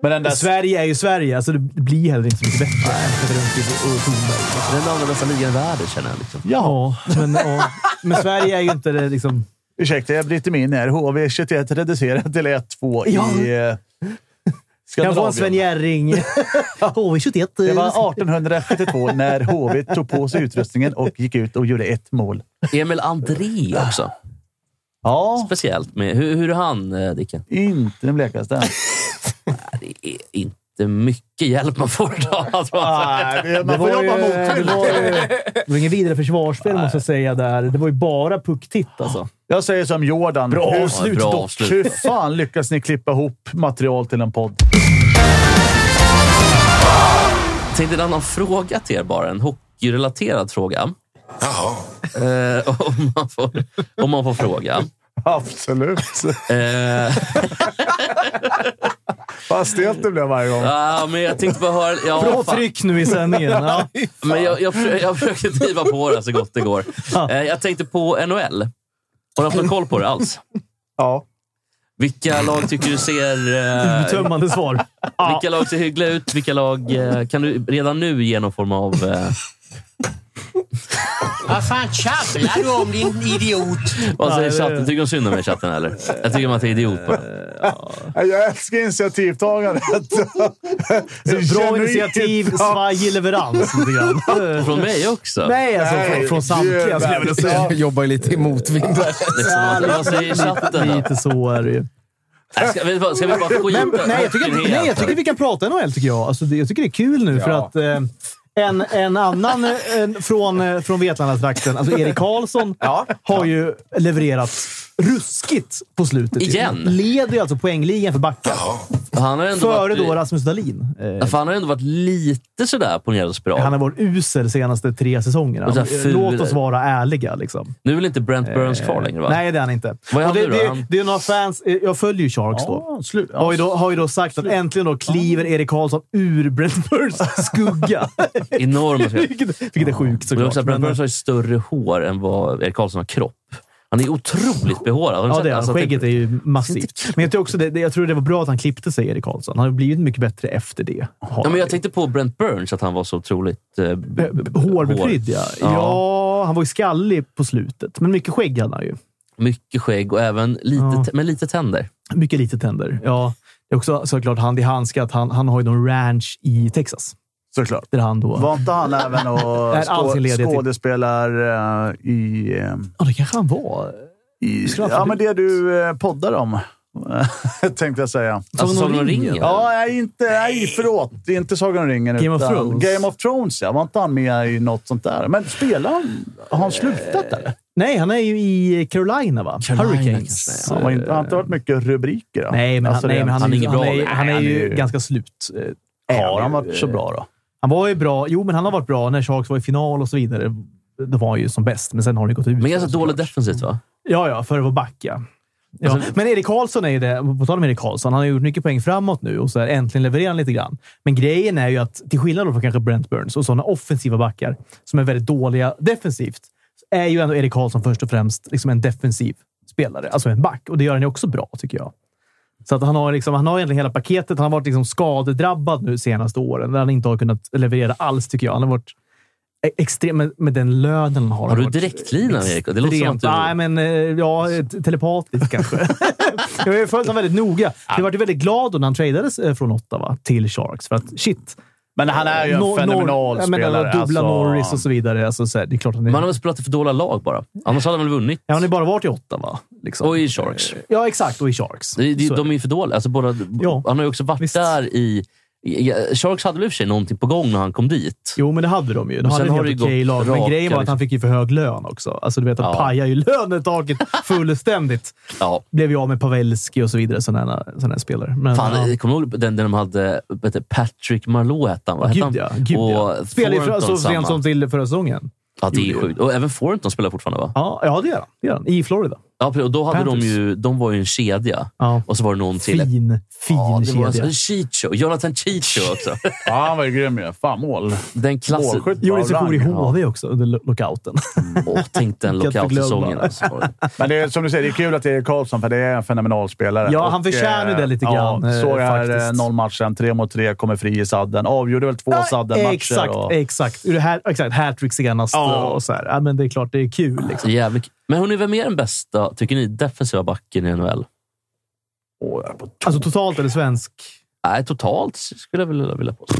S2: Men den där
S1: Sverige är ju Sverige. Alltså, det blir heller inte så mycket bättre än Petter Rönnqvist och Tornberg.
S3: Det är den andra bästa ligan i världen, känner jag. Liksom.
S1: Ja, men, ja. men Sverige är ju inte det liksom...
S2: Ursäkta, jag bryter mig in här. HV71 reducerat till 1-2
S1: Ja.
S2: i eh,
S1: Kan jag få en
S2: Skandinavien.
S1: Sven
S2: *laughs*
S1: Jerring? HV71.
S2: Det var 1872 när HV tog på sig utrustningen och gick ut och gjorde ett mål.
S3: Emil André också.
S2: Ja,
S3: Speciellt. Med, hur, hur är han, eh, Dicken?
S2: inte den blekaste.
S3: Nej, Det är inte mycket hjälp man får idag. alltså.
S1: Ah. Det var, ju, det, var ju, det var ingen vidare försvarsspel, måste jag säga. där. Det var ju bara pucktitt alltså.
S2: Jag säger som Jordan. Bra
S3: avslut,
S2: dock.
S3: bra avslut.
S2: Hur fan lyckas ni klippa ihop material till en podd?
S3: Jag tänkte en annan fråga till er bara. En hockeyrelaterad fråga. Eh, om, man får, om man får fråga.
S2: Absolut.
S3: Eh,
S2: Vad stelt det blev varje gång.
S3: ah, men jag tänkte bara höra... Ja,
S1: Bra
S3: fan.
S1: tryck nu i
S2: *laughs*
S1: sändningen. Ja.
S3: Men jag, jag, försö- jag försökte driva på det så gott det går. Eh, jag tänkte på NHL. Har du haft någon koll på det alls?
S2: Ja.
S3: Vilka lag tycker du ser... Eh,
S1: Tömmande svar.
S3: vilka lag ser hyggliga ut? Vilka lag... Eh, kan du redan nu ge någon form av... Eh,
S5: Vad fan tjabblar du om din idiot?
S3: vad
S1: Nej,
S3: säger
S1: det-
S3: chatten? Tycker de synd om mig i chatten, eller? Jag tycker man är idiot bara.
S2: Jag älskar *laughs* initiativtagandet.
S1: Bra initiativ, svajig leverans. Lite grann.
S2: *laughs*
S3: Från mig också.
S1: Nej, alltså
S2: Nej,
S1: från, från samtliga skulle jag vilja säga.
S2: Ja.
S4: Jag *laughs* jobbar ju lite i motvind där.
S3: Liksom, vad- vad säger chatten? då?
S1: Lite så är det ju.
S3: Nej, Ska, vet du vad, ska vi bara skita
S1: Men, nej, jag tycker, nej, jag tycker vi kan prata NHL, tycker jag. Alltså, det, jag tycker det är kul nu, för
S4: Ja.
S1: att eh, en, en annan eh, en, från, eh, från Vetlandatrakten, alltså Erik Karlsson, har ju levererat ruskigt på slutet. ju.
S3: Igen?
S1: Leder ju alltså poängligan för backar.
S3: Han har ändå
S1: Före då
S3: varit,
S1: Rasmus Dahlin. Eh,
S3: för han har ändå varit lite sådär på bra.
S1: Han har varit usel senaste tre säsongerna.
S3: Och så här
S1: Eh,
S3: ful-
S1: Låt oss vara ärliga. Liksom.
S3: Nu är väl inte Brent Burns kvar längre? Va?
S1: Eh, Nej, det är han inte.
S3: Vad är
S1: Och
S3: han
S1: det,
S3: nu då?
S1: det,
S3: Han-
S1: det är några fans. eh, Jag följer ju Sharks då.
S2: Ja, slut.
S1: Har ju då, har ju då sagt att äntligen då kliver Erik Karlsson ur Brent
S2: *laughs*
S1: Burns
S3: *laughs*
S1: skugga. *laughs*
S3: Enorma skillnader.
S1: vilket, vilket är sjukt
S3: Men
S1: såklart.
S3: också att Brent
S1: Men,
S3: Burns har ju större hår än vad Erik Karlsson har kropp. Han är otroligt behårad. Har du
S1: ja,
S3: sett
S1: det är, han.
S3: Alltså,
S1: skägget är
S3: tänk-
S1: ju massivt. Men jag, tycker också det, det- jag tror det var bra att han klippte sig, Erik Karlsson. Han har blivit mycket bättre efter det. Har
S3: Ja, men jag
S1: han ju.
S3: tänkte på Brent Burns, att han var så otroligt... Eh, b-
S1: B- b- Hårbeprydd, ja.
S3: Ja.
S1: ja. Han var ju skallig på slutet, men mycket skägg hade han ju.
S3: Mycket skägg och även lite,
S1: Ja.
S3: t- men lite tänder.
S1: Mycket lite tänder. Ja, det är också såklart hand i handske att han, han har ju någon ranch i Texas.
S2: Såklart.
S1: Där han då...
S2: Var inte han även och
S1: är all sin
S2: skå-
S1: ledighet.
S2: skådespelar eh, i... eh,
S1: Ja, det kanske han var.
S2: i
S1: Skulle han
S2: ja,
S1: få
S2: men det du eh, poddar om, *laughs* tänkte jag säga.
S3: Alltså,
S1: Sagan
S3: Sagan
S1: om
S3: om
S1: ringen.
S3: ringen.
S2: Ja, nej, inte, nej, förlåt. Det är inte Sagan om ringen.
S1: Game of
S2: utan
S1: Thrones.
S2: Game of Thrones, ja. Var inte han med i något sånt där? Men spelar han? Har han slutat där?
S1: Nej, han är ju i Carolina, va?
S3: Carolina
S1: Hurricanes.
S3: kanske,
S2: Han har inte, han har inte varit mycket rubriker. Då.
S1: Nej, men,
S2: Alltså,
S1: han, nej,
S2: det-
S1: men han,
S3: han
S1: är
S3: är
S1: ju,
S3: ingen
S1: han,
S3: bra-
S1: är,
S3: nej,
S1: han är
S2: han är
S1: ju
S2: ju-
S1: ganska slut. Eh,
S2: Har han
S1: ju,
S2: varit så
S1: eh,
S2: bra då?
S1: Han var ju bra. Jo, men han har varit bra när Sharks var i final och så vidare. Då var han ju som bäst, men sen har det gått ut.
S3: Men ganska dåligt defensivt, va?
S1: Ja, ja, för att vara back, ja. Ja.
S3: Alltså-
S1: men Erik Karlsson är ju det. På tal om Erik Karlsson, han har gjort mycket poäng framåt nu och så här, äntligen levererar han lite grann. Men grejen är ju att, till skillnad då från kanske Brent Burns och sådana offensiva backar som är väldigt dåliga defensivt, så är ju ändå Erik Karlsson först och främst liksom en defensiv spelare, alltså en back. Och det gör han ju också bra, tycker jag. Så att han, har liksom, han har egentligen hela paketet. Han har varit liksom skadedrabbad nu senaste åren, där han inte har kunnat leverera alls, tycker jag. Han har varit e- extrem med, med den lönen han har.
S3: Har du
S1: varit
S3: direktlina, Erik? Det låter som att
S1: Extremt.
S3: du...
S1: Nej, men eh, ja, t- telepatiskt kanske.
S3: *laughs*
S1: jag har ju följt honom väldigt noga. Jag var väldigt glad då när han tradades eh, från Ottawa till Sharks. För att shit.
S2: Men han är ju en
S1: Nor-
S2: fenomenal
S1: Nor- jag menar,
S2: spelare.
S1: Dubbla
S2: alltså.
S1: Norris och så vidare. Alltså, så här, det är klart han är...
S3: Man har väl spelat i för dåliga lag bara. Annars hade man väl vunnit.
S1: Ja, han har ju bara varit i Ottawa. Liksom.
S3: Och i Sharks.
S1: Ja, exakt. Och i Sharks.
S3: Det, det,
S1: Så är
S3: de är ju för dåliga. Alltså, båda,
S1: Ja,
S3: han har ju också varit
S1: visst.
S3: där i Ja, Sharks hade väl i och för sig någonting på gång när han kom dit.
S1: Jo, men det hade de ju. De
S3: Men
S1: hade
S3: sen
S1: en
S3: har det
S1: helt
S3: ju
S1: okej
S3: gått
S1: lag. Men
S3: raka
S1: grejen var att
S3: liksom.
S1: han fick ju för hög lön också. Alltså, du vet, han
S3: Ja.
S1: pajar ju *laughs* lönetaket fullständigt.
S3: Ja.
S1: Blev ju av med Pavelski och så vidare, sådana här spelare. Men,
S3: Fan,
S1: ja.
S3: jag kommer ihåg den, den de hade vad heter det, Patrick Marleau hette han, va? Hette
S1: Gud
S3: han?
S1: ja. Gud ja.
S3: och
S1: Spelade ju för-
S3: Thornton
S1: så sent
S3: samma.
S1: som till förra säsongen.
S3: Ja, det är
S1: Gjorde
S3: sjukt. Och även Forenton spelar fortfarande va?
S1: Ja, ja det, gör han. det gör han. I Florida.
S3: Ja, precis. och då hade de
S1: Panthers.
S3: ju, de var ju en kedja.
S1: Ja.
S3: Och så var det någon till.
S1: Fin, fin
S3: ja, det var
S1: kedja.
S3: en Chicho. Jonathan
S1: *laughs*
S3: Chicho också.
S2: Ja, han var ju grym ju. Fan, mål.
S3: Den klassen.
S2: Målskytt.
S1: Gjorde sig stor i
S2: Ja.
S1: HV också under lo- lockouten.
S3: Åh, tänk den
S1: Vilket
S3: lockout-säsongen.
S1: förglömma.
S3: Alltså.
S2: Men det är, som du säger, det är kul att det är Karlsson, för det är en fenomenal spelare.
S1: Ja, han förtjänar
S2: eh,
S1: det lite
S2: Ja,
S1: grann, eh,
S2: såg här
S1: faktiskt.
S2: eh, noll matchen, tre mot tre, kommer fri i sadden. Avgjorde väl två sadden matcher
S1: exakt,
S2: och...
S1: exakt. Ur det här, exakt. Hattrick senast
S2: Ja.
S1: och så här. Ja, men det är klart, det är kul. Liksom.
S3: Så jävligt. Men hörni, vem är den bästa, tycker ni, defensiva backen i NHL?
S2: Åh, jag är på
S1: Alltså totalt eller svensk?
S3: Nej, totalt skulle jag vilja, vilja påstå.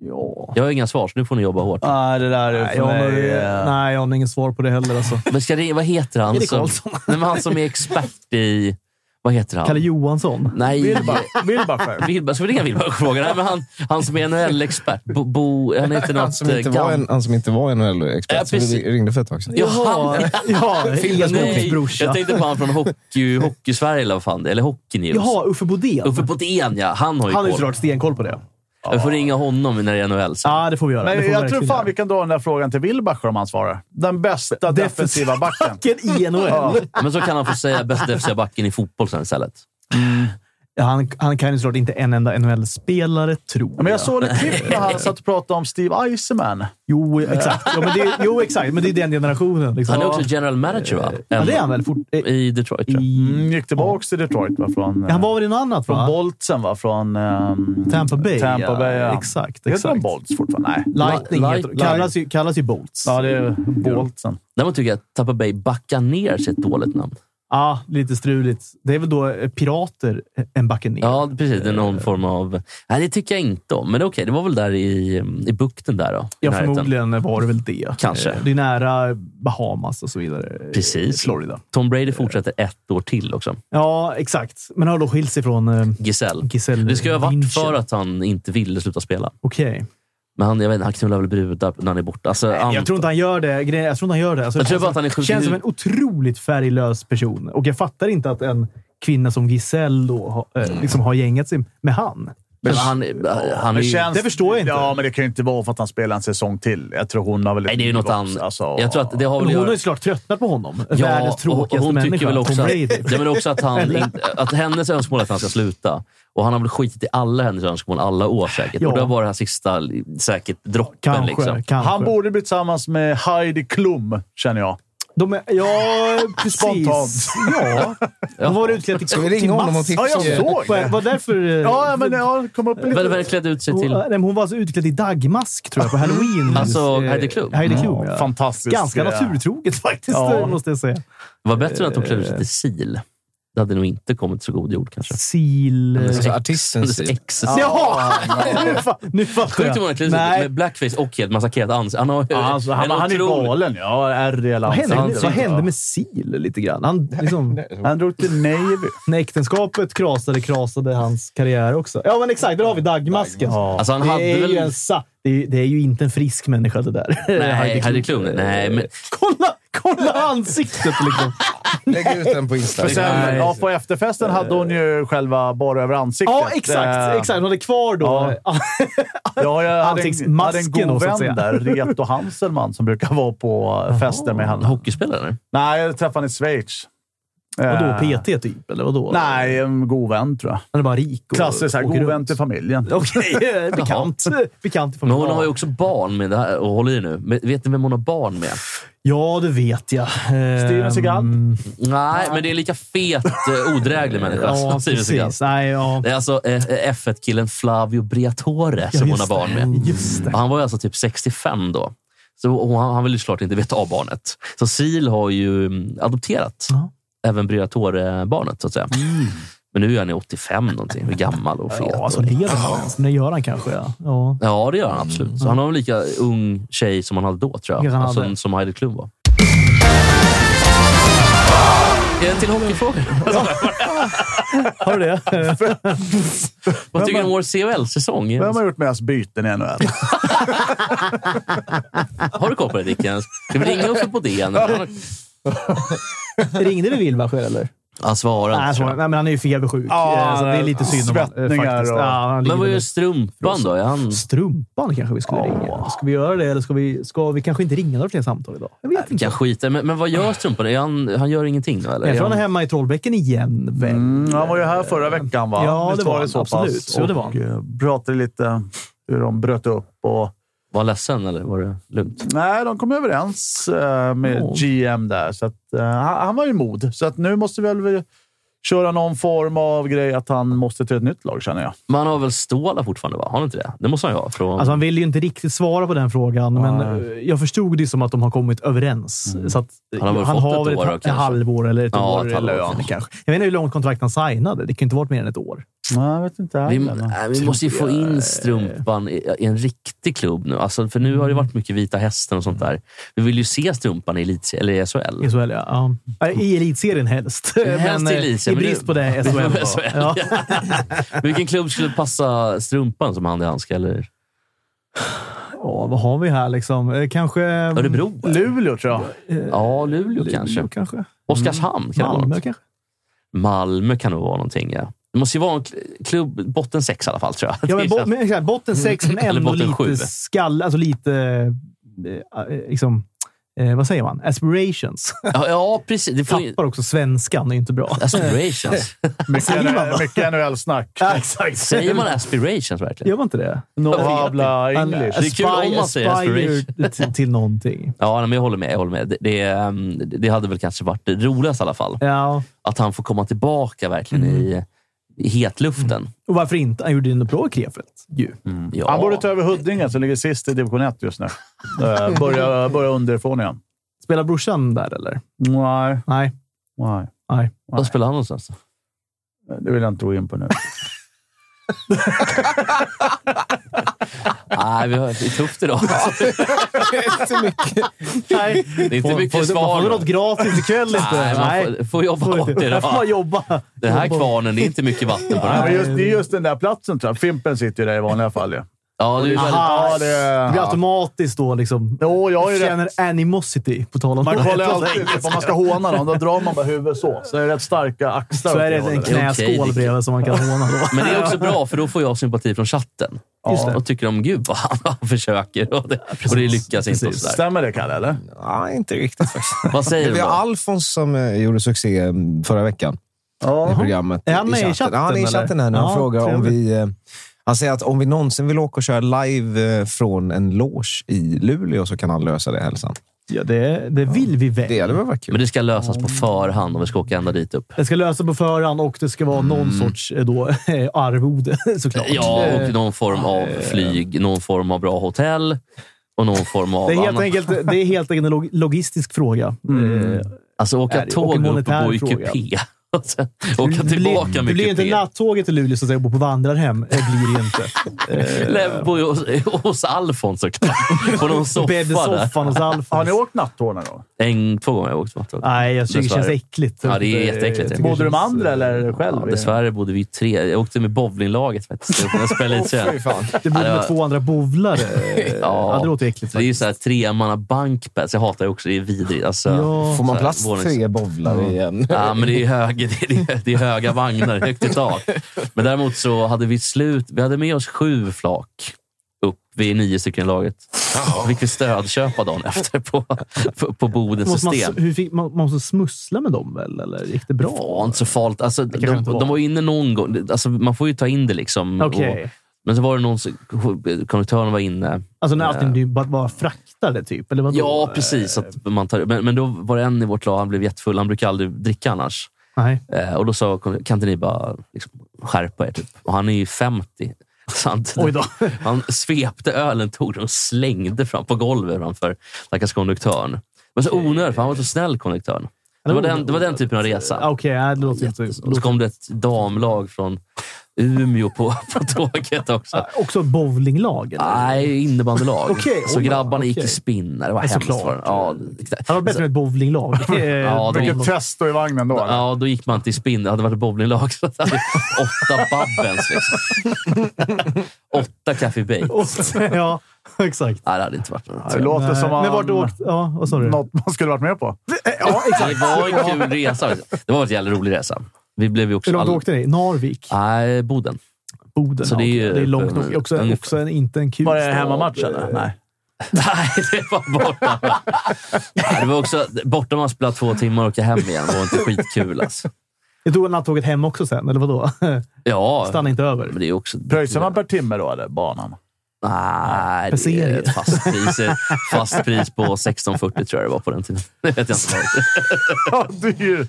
S2: Ja.
S3: Jag har inga svar, så nu får ni jobba hårt.
S2: Nej, det där är
S1: Nej,
S2: för
S1: jag, har,
S2: mig... eh,
S1: nej, jag har nog ingen svar på det heller. Alltså.
S3: Men ska det, vad heter han?
S1: Erik
S3: som-
S1: Karlsson.
S3: Nej, men han som är expert i... Vad heter han?
S1: Kalle Johansson.
S3: Nej.
S2: Wilbur- Wilbacher.
S3: Wilbur, ska vi ringa Wilbur och fråga? Nej, men han, han som är NHL-expert. Bo, bo, han heter något...
S4: Han som inte
S3: eh,
S4: var,
S3: gam-
S4: en, han som inte var NHL-expert,
S3: Ja,
S4: som vi
S3: precis.
S4: ringde för ett tag sedan.
S3: Ja, han,
S1: ja Elias Blomqvists
S3: nej, jag
S1: brorsa.
S3: tänkte på han från hockey, Hockey-Sverige eller vad fan det är. Eller Hockey-News.
S1: Jaha, Uffe Bodén.
S3: Uffe Bodén, ja. Han har ju
S1: Han har ju
S3: koll.
S1: såklart stenkoll på det.
S3: Jag får ringa honom när det är NHL sen.
S1: Ja, det får vi göra. det får
S2: Men
S1: vi
S2: jag tror
S1: verkligen
S2: fan
S1: göra.
S2: vi kan dra den där frågan till Wilbacher om han svarar. Den bästa defensiva backen.
S1: *laughs*
S3: *laughs*
S1: Vilken i NHL!
S3: Men så kan han få
S1: *laughs*
S3: säga bästa defensiva backen i fotboll sen istället.
S1: Mm. Ja, han, han kan ju såklart inte en enda NHL-spelare, tror
S2: Ja, Men jag såg ett klipp när han satt och pratade om Steve Eisenman.
S1: Jo, exakt. Ja, men det, jo, exakt. Men det är den generationen. Liksom.
S3: Han är också general manager, va?
S1: Ja, det är han väl? Fort, eh,
S3: I Detroit, tror jag.
S1: i,
S2: Mm, gick tillbaka till Detroit va? från, eh,
S1: han var väl i något annat,
S2: från
S1: va?
S2: Boltsen. Va? Från ehm,
S1: Tampa Bay.
S2: Tampa Bay ja.
S1: Exakt.
S2: Heter
S1: exakt.
S2: de Bolts fortfarande? Nej.
S1: Lightning
S3: Light-
S1: heter,
S3: Light-
S1: kallas, ju, kallas ju Bolts.
S2: Ja, det är Boltsen.
S3: Däremot tycker jag att Tampa Bay backar ner sig ett dåligt namn.
S1: Ja, lite struligt. Det är väl då eh, pirater eh, en backe ner.
S3: Ja, precis. Det är någon form av... Nej, det tycker jag inte om. Men det är okej, det var väl där i, i bukten där då? i
S1: Ja,
S3: närheten.
S1: förmodligen var det väl det.
S3: Kanske.
S1: Eh, Det är nära Bahamas och så vidare. eh,
S3: Precis.
S1: Florida.
S3: Tom Brady fortsätter ett år till också.
S1: Ja, exakt. Men har då skilt sig från eh,
S3: Giselle.
S1: Giselle
S3: Det ska ju ha varit
S1: Bündchen.
S3: för att han inte ville sluta spela.
S1: Okej.
S3: Men han, jag vet, inte, han knullar väl brudar när han är borta. Alltså, han,
S1: Jag tror inte han gör det. Grejen- Jag tror inte han gör det. Alltså,
S3: Jag tror
S1: det
S3: bara att han är sjuk i
S1: känns som en
S3: huvudet.
S1: otroligt färglös person. Och jag fattar inte att en kvinna som Giselle då, har-
S3: Mm.
S1: eh, liksom har gängat sig med han.
S3: men han, han är
S2: Men
S3: ju,
S2: känns-
S1: det förstår jag inte.
S2: Ja, men det kan ju inte vara för att han spelar en säsong till. Jag tror hon har väl... alltså,
S3: Nej, det är ju något annat.
S1: alltså.
S3: jag tror att det har
S1: Men
S3: väl
S1: hon har
S3: att göra-
S1: ju såklart tröttnat på honom.
S3: Ja,
S1: Världens
S3: och- och
S1: tråkigaste
S3: hon tycker
S1: människa.
S3: väl också
S1: Tom
S3: att,
S1: Brady.
S3: ja, men också att, han, inte- att hennes önskemål är att han ska sluta. Och han har väl skitit i alla hennes önskemål alla år säkert.
S1: Ja.
S3: Och det var det här sista säkert droppen.
S1: Kanske.
S3: liksom.
S1: kanske.
S2: Han borde bli tillsammans med Heidi Klum, känner jag.
S1: De är,
S4: *laughs*
S1: ja, precis.
S2: Spontant.
S1: Ja. De var utklädda till
S4: Ska vi ringa honom och tipsa
S2: Ja,
S4: om
S2: jag
S4: det?
S2: såg det.
S1: Var därför... eh,
S2: Ja, men ja, kom upp lite.
S3: Väl, väl klädde ut sig
S1: hon,
S3: till...
S1: nej, men hon var alltså utklädd i dagmask, tror jag, på halloween.
S3: Alltså,
S1: Eh,
S3: Heidi Klum?
S1: Heidi Klum,
S2: Ja,
S1: ja.
S2: fantastiskt.
S1: Ganska naturtroget faktiskt,
S2: Ja.
S1: måste jag säga.
S3: Det var bättre att de klädde ut sig till sil. Det hade nog inte kommit så god jord kanske.
S1: Sil...
S4: Alltså,
S3: Ex-
S4: artisten
S3: hennes
S4: Steve.
S3: ex-
S1: Ja! nu, fa nu fattar
S3: Sjukt
S1: jag.
S3: om hon har klätt ut sig
S1: Nej.
S3: med blackface och helt massakerat ansikte. Han, har,
S2: Ja, alltså, han,
S3: en
S2: han är
S3: otrolig-
S2: galen. Ja, ärr i alla
S1: Vad hände,
S2: ansikten.
S1: vad hände med Sil lite grann? Han, *laughs* liksom,
S2: Han drog
S1: *laughs*
S2: till Navy.
S1: när äktenskapet krasade, krasade hans karriär också. Ja, men exakt. Där har vi dagmasken.
S3: Alltså, han
S1: det,
S3: hade
S1: är
S3: väl...
S1: ju en sa- det, är, ju- det är ju inte en frisk människa det där. *laughs*
S3: Nej, Heidi Klum. Nej, men...
S1: kolla, kolla ansiktet
S3: *laughs*
S1: liksom.
S4: Lägg ut den på Insta.
S2: För
S4: *laughs*
S2: sen,
S3: Nej.
S2: ja, på efterfesten hade hon ju själva bara över ansiktet.
S1: Ja, exakt.
S2: Eh,
S1: exakt. Hon hade kvar då. Ah,
S2: Ja, jag hade en, hade en
S1: Ansiktsmasken
S2: god
S1: då, så
S2: vän
S1: att säga.
S2: där, Reto Hanselman, som brukar vara på eh, fester med henne.
S3: Hockeyspelare?
S2: Nej, jag träffade henne i Schweiz.
S1: Vadå,
S2: Eh,
S1: PT typ? Eller vadå?
S2: Nej, en god vän tror jag.
S1: Han är bara rik och
S2: Klassisk så här,
S1: åker
S2: god
S1: runt.
S2: vän till familjen.
S1: *laughs* Okej, eh,
S3: *laughs*
S1: bekant. bekant i
S3: Men
S1: familjen.
S3: hon har ju också barn med det här. Och håll i nu. Men Vet ni vem hon har barn med?
S1: Ja, det vet jag. Ehm,
S2: Steven Seagal?
S3: Nej, men det är lika fet, eh, odräglig människa
S1: *laughs* Ja,
S3: som Steven Seagal.
S1: precis. Nej, ja.
S3: Det är alltså eh, eh, F1-killen Flavio Briatore som hon har
S1: just
S3: barn
S1: det.
S3: med.
S1: Just det.
S3: Och han var ju alltså typ 65 då. Så hon- han, han vill ju såklart inte veta av barnet. Så Sil har ju mm, adopterat
S1: Ja. Mm.
S3: även Briatore-barnet, så att säga. Men nu är han i 85 någonting. Hur gammal och fet.
S1: Ja, alltså
S3: och...
S1: lever han ens? Men det gör han kanske. Ja. Ja.
S3: Ja, det gör han absolut.
S1: Mm.
S3: Så han har en lika ung tjej Alltså, som han hade då, tror jag.
S1: Ja, han
S3: Alltså,
S1: hade.
S3: som Heidi Klum var. Eh,
S1: *laughs*
S3: Till hockeyfrågor.
S1: Har du det?
S3: Vad tycker du om vår CHL-säsong?
S2: Vem har gjort mest byten i
S1: *laughs*
S2: NHL?
S3: Har du koll på det, Dicken? Ska vi ringa Uffe
S1: *laughs*
S3: på DN?
S1: *laughs* Ringde du Wilbacher, eller?
S3: Han svarar
S1: Nej,
S3: inte.
S1: så, nej, men han är ju febersjuk.
S2: Ja,
S1: eh, så det är lite synd om honom, eh,
S2: svettningar
S1: faktiskt.
S2: och-
S1: Ja, han ligger
S3: Men vad
S1: väl-
S3: gör strumpan då? Är han...
S1: Strumpan kanske vi skulle ringa. Ska vi göra det, eller ska vi, ska vi kanske inte ringa några fler samtal idag? Jag vet
S3: Vi
S1: inte.
S3: kan skita i- men, men vad gör strumpan? Är han, han gör ingenting då, eller?
S1: Jag tror han
S3: Är
S1: är
S3: han-
S1: hemma i Trollbäcken igen, väl?
S2: Mm, han var ju här förra veckan, va?
S1: Ja,
S2: Visst
S1: det var han,
S2: pass?
S1: absolut. Så det var
S2: Och
S1: han.
S2: eh, pratade lite hur de bröt upp. Och...
S3: Var han ledsen eller var det lugnt?
S2: Nej, de kom överens eh, med
S1: Ja.
S2: GM där. Så att, eh, han, han var ju mod, så att nu måste väl vi köra någon form av grej att han måste till ett nytt lag, känner jag.
S3: Men han har väl Ståla fortfarande? Va? Har han inte det? Det måste han ju ha. Från...
S1: Alltså, han ville ju inte riktigt svara på den frågan, men
S2: Nej.
S1: eh, jag förstod det som att de har kommit överens. Så att, eh,
S3: Mm. Han har väl fått ett
S1: väl
S3: år då,
S1: ett,
S3: kanske.
S1: halvår eller ett
S3: Ja,
S1: år
S3: ett halvår.
S1: lön. Kanske. Jag vet inte hur långt kontrakt han signade. Det kan ju inte varit mer än ett år.
S2: Nej, jag vet inte.
S3: vi,
S2: heller, men-
S3: nej, vi måste ju få in strumpan i, i en riktig klubb nu. Alltså, för nu har det varit mycket Vita Hästen och sånt där. Vi vill ju se strumpan i, elit, eller i SHL.
S1: I SHL, ja. ja. Eh, I elitserien helst.
S3: Mm. Helst
S1: men, eh,
S3: elitserien,
S1: I
S3: men
S1: brist
S3: nu-
S1: på det, SHL.
S3: *laughs*
S1: då.
S3: SHL,
S1: Ja.
S3: *laughs* Vilken klubb skulle passa strumpan som hand i handske? Eller?
S1: Ja, vad har vi här liksom? Eh, Kanske... eh,
S3: Örebro? eller?
S2: Luleå, tror jag.
S3: Mm. Ja, Luleå,
S1: Luleå
S3: kanske.
S1: kanske.
S3: Oskarshamn kan det vara.
S1: Malmö
S3: något.
S1: kanske.
S3: Malmö kan nog vara någonting. Ja. Det måste ju vara en kl- klubb, botten sex i alla fall, tror jag. *laughs*
S1: Ja, men
S3: Det
S1: bo,
S3: känns-
S1: men, exakt, botten sex, men
S3: Eller
S1: ändå
S3: botten sju.
S1: lite skall... Alltså lite... eh, eh, Liksom, eh, vad säger man?
S3: *laughs*
S1: Aspirations.
S3: ja, ja, precis. Det får ju...
S1: Tappar också svenskan. Det är inte
S3: *laughs*
S1: bra. *laughs*
S3: Aspirations.
S2: Mycket,
S3: *laughs*
S2: mycket NHL-snack.
S1: Ja, exakt.
S3: Säger man aspirations verkligen?
S1: Gör man inte det?
S2: No
S3: Jag vet
S2: habla
S1: Man
S2: English.
S3: Det är kul om
S1: aspire-
S3: man säger
S1: aspire *laughs* till, till någonting.
S3: Ja, nej, men jag håller med. Jag håller med. Det, det, ehm, det hade väl kanske varit det roligaste i alla fall.
S1: Ja.
S3: Att han får komma tillbaka verkligen i, i hetluften.
S1: Och varför inte? Han gjorde ju en bra i Krefeld. ju.
S3: Ja.
S2: Han borde ta över Huddinge som ligger sist i division 1 just nu. Eh, Börja, börja underifrån igen.
S1: Spelar brorsan där, eller?
S2: Nej,
S1: Nej.
S2: nej.
S1: Nej.
S3: Vad spelar han någonstans? då?
S2: Det vill jag inte gå in på nu.
S3: Nej, vi har, det är tufft idag.
S4: Så mycket.
S1: Nej.
S3: *laughs* Det är inte mycket
S1: får,
S3: svar.
S1: Får du något gratis ikväll? Inte?
S3: *laughs* Nej, man får, får jobba
S1: Får *laughs*
S3: hårt
S1: inte. Jag får bara
S3: idag.
S1: jobba.
S3: Den här kvarnen, det är inte mycket vatten på den
S2: Nej,
S3: här.
S2: men just, det är just den där platsen, tror jag. Fimpen sitter ju där i vanliga fall. ju.
S3: Ja, det är ju väldigt...
S2: Ja, det-
S1: det blir automatiskt då liksom.
S2: Jo, jag har ju rätt.
S1: känner animosity, på tal om
S2: Man kollar ju
S1: det.
S2: alltid typ, om man ska håna någon. Då drar man bara huvudet så. Så är det rätt starka axlar.
S1: Så är det
S2: åt
S1: en
S2: hållet.
S3: Okej,
S1: knäskål
S3: Dick.
S1: bredvid som man kan håna då.
S3: Men det är också bra, för då får jag sympati från chatten.
S1: Just det.
S3: Och tycker de, gud vad han, han försöker. Och det, och det lyckas inte. Och
S1: Precis.
S3: sådär.
S2: Stämmer det, Kalle? Eller?
S4: Nej, inte riktigt faktiskt.
S3: Vad säger
S4: Det
S3: du
S4: var
S3: då?
S4: Alfons som eh, gjorde succé eh, förra veckan i
S2: Ja.
S4: programmet.
S1: Är han med i chatten,
S4: Ja, han är i
S1: eller?
S4: chatten här nu. Han
S1: Ja,
S4: frågar om
S1: trevligt.
S4: vi... eh, Han säger att om vi någonsin vill åka och köra live eh, från en loge i Luleå så kan han lösa det, hälsan.
S1: Ja, det, det vill vi väl.
S4: Det hade väl varit kul.
S3: Men det ska lösas på förhand om vi ska åka ända dit upp.
S1: Det ska lösa på förhand och det ska vara någon sorts eh, då, *laughs* arvode *laughs* såklart.
S3: Mm. Ja,
S1: Eh,
S3: och någon form av flyg, någon form av bra hotell och någon form av...
S1: det, är helt
S3: annan-
S1: enkelt, det är helt enkelt en log- logistisk fråga. Eh,
S3: Alltså åka
S1: Nej, det är- och en
S3: tåg upp och
S1: monetär
S3: bo i
S1: fråga.
S3: kupé. *laughs* Och sen åka
S1: det
S3: tillbaka
S1: blir, det
S3: med
S1: blir ju inte
S3: kupé.
S1: nattåget till Luleå så att säga, och bo på vandrarhem. Det blir det
S3: *laughs*
S1: inte.
S3: Nej, bo hos, hos Alfons såklart.
S1: *laughs*
S3: På någon soffa där.
S1: Bäddsoffan hos
S2: Har
S1: Alfons.
S2: ni åkt nattåg någon gång?
S3: En, två gånger har jag åkt nattåg.
S1: Nej, jag tycker det känns
S3: Dessvärre.
S1: äckligt.
S3: Ja, det är jätteäckligt.
S1: Jag tycker det
S2: Bodde du med
S1: känns-
S2: andra eller själv?
S3: Ja, dessvärre bodde vi tre. Jag åkte med bowlinglaget faktiskt.
S1: *laughs*
S3: Jag spelade lite sen.
S1: Du bodde
S3: Ja, det
S1: med
S3: var-
S1: två andra bovlare.
S3: *laughs*
S1: ja. det låter äckligt.
S3: Så det är ju såhär tremanna bankbäds. Jag hatar ju också. Det är vidrigt. Alltså,
S1: Ja.
S4: Får
S3: Så
S4: man
S3: här,
S4: plats
S3: vånings-
S4: tre bowlar igen? *laughs*
S3: Ja, men det är, hög, *laughs* det, är, det är höga vagnar, högt i tak. Men däremot så hade vi slut. Vi hade med oss sju flak upp. Vi är nio stycken i laget. Fick vi stödköpa dagen efter på, på, på Bodens
S1: Måste man,
S3: system.
S1: hur fick, man, man måste smussla med dem väl, eller gick det
S3: Det
S1: bra?
S3: var inte så farligt. Alltså,
S1: kanske
S3: de,
S1: inte var.
S3: de var inne någon gång. Alltså, man får ju ta in det liksom.
S1: Okej.
S3: Och, men så var det någon som... Konduktören var inne.
S1: Alltså när allting du bara, bara fraktade, typ? Eller vadå?
S3: Ja, precis. Att man tar, men, men då var det en i vårt lag, han blev jättefull. Han brukar aldrig dricka annars.
S1: Nej.
S3: Eh, och då sa kon- kan inte ni bara liksom, skärpa er? Typ. Och han är ju 50. Så han,
S1: Oj då.
S3: *laughs* han svepte ölen, tog den och slängde fram på golvet framför stackars konduktören. Men så onödigt, för han var så snäll konduktören. Det var den, det var den typen av resa.
S1: Okej, okay, det låter inte...
S3: Och så kom det ett damlag från Umeå på, *laughs* på tåget också.
S1: Också bowlinglag? eller?
S3: Nej, innebandylag.
S1: Okej,
S3: så
S1: oj,
S3: grabbarna gick
S1: okej.
S3: i spinn. Det var
S1: Ja,
S3: hemskt.
S1: såklart.
S3: Var det. Ja,
S1: Han var bättre än ett bowlinglag. Eh, Det är
S3: *laughs* Ja, det-
S1: bra.
S2: Vilket fest då i vagnen då. eller?
S3: ja, då gick man till spinn. Det hade varit bowlinglag så hade vi åtta babbens. Liksom.
S1: *laughs*
S3: åtta Café Bay.
S1: *laughs* Och- ja, exakt.
S3: Nej, det hade inte varit något.
S2: Det låter
S1: Men
S2: som
S1: vart
S2: han-
S1: du åkt? Ja, vad sa du?
S2: något man skulle varit med på.
S1: Ja, exakt.
S3: Det var en kul resa. liksom. Det var en jävla rolig resa. Vi blev ju också...
S1: Hur långt
S3: all-
S1: åkte ni? Narvik?
S3: Nej, Boden. *laughs*
S1: Boden?
S3: så det är
S1: ja,
S3: ju- eh,
S1: det är långt nog. Också, en,
S3: ungefär.
S1: också en, inte en kul
S2: Var det
S1: stad.
S2: hemmamatch eller? Nej.
S3: Nej, det var borta. Nej, det var också borta man spelade två timmar och åka hem igen. Det var inte skitkul alltså.
S1: Jag tog nattåget hem också sen, eller vadå? *laughs*
S3: Ja,
S1: Stanna inte över.
S3: men det är också...
S2: Pröjsar man per timme då, eller? Banan?
S3: Nej, det är
S1: Placering.
S3: ett fast pris, ett fast pris på 16,40 tror jag det var på den tiden. *laughs* Det vet jag inte. vad-
S2: Ja, det är ju...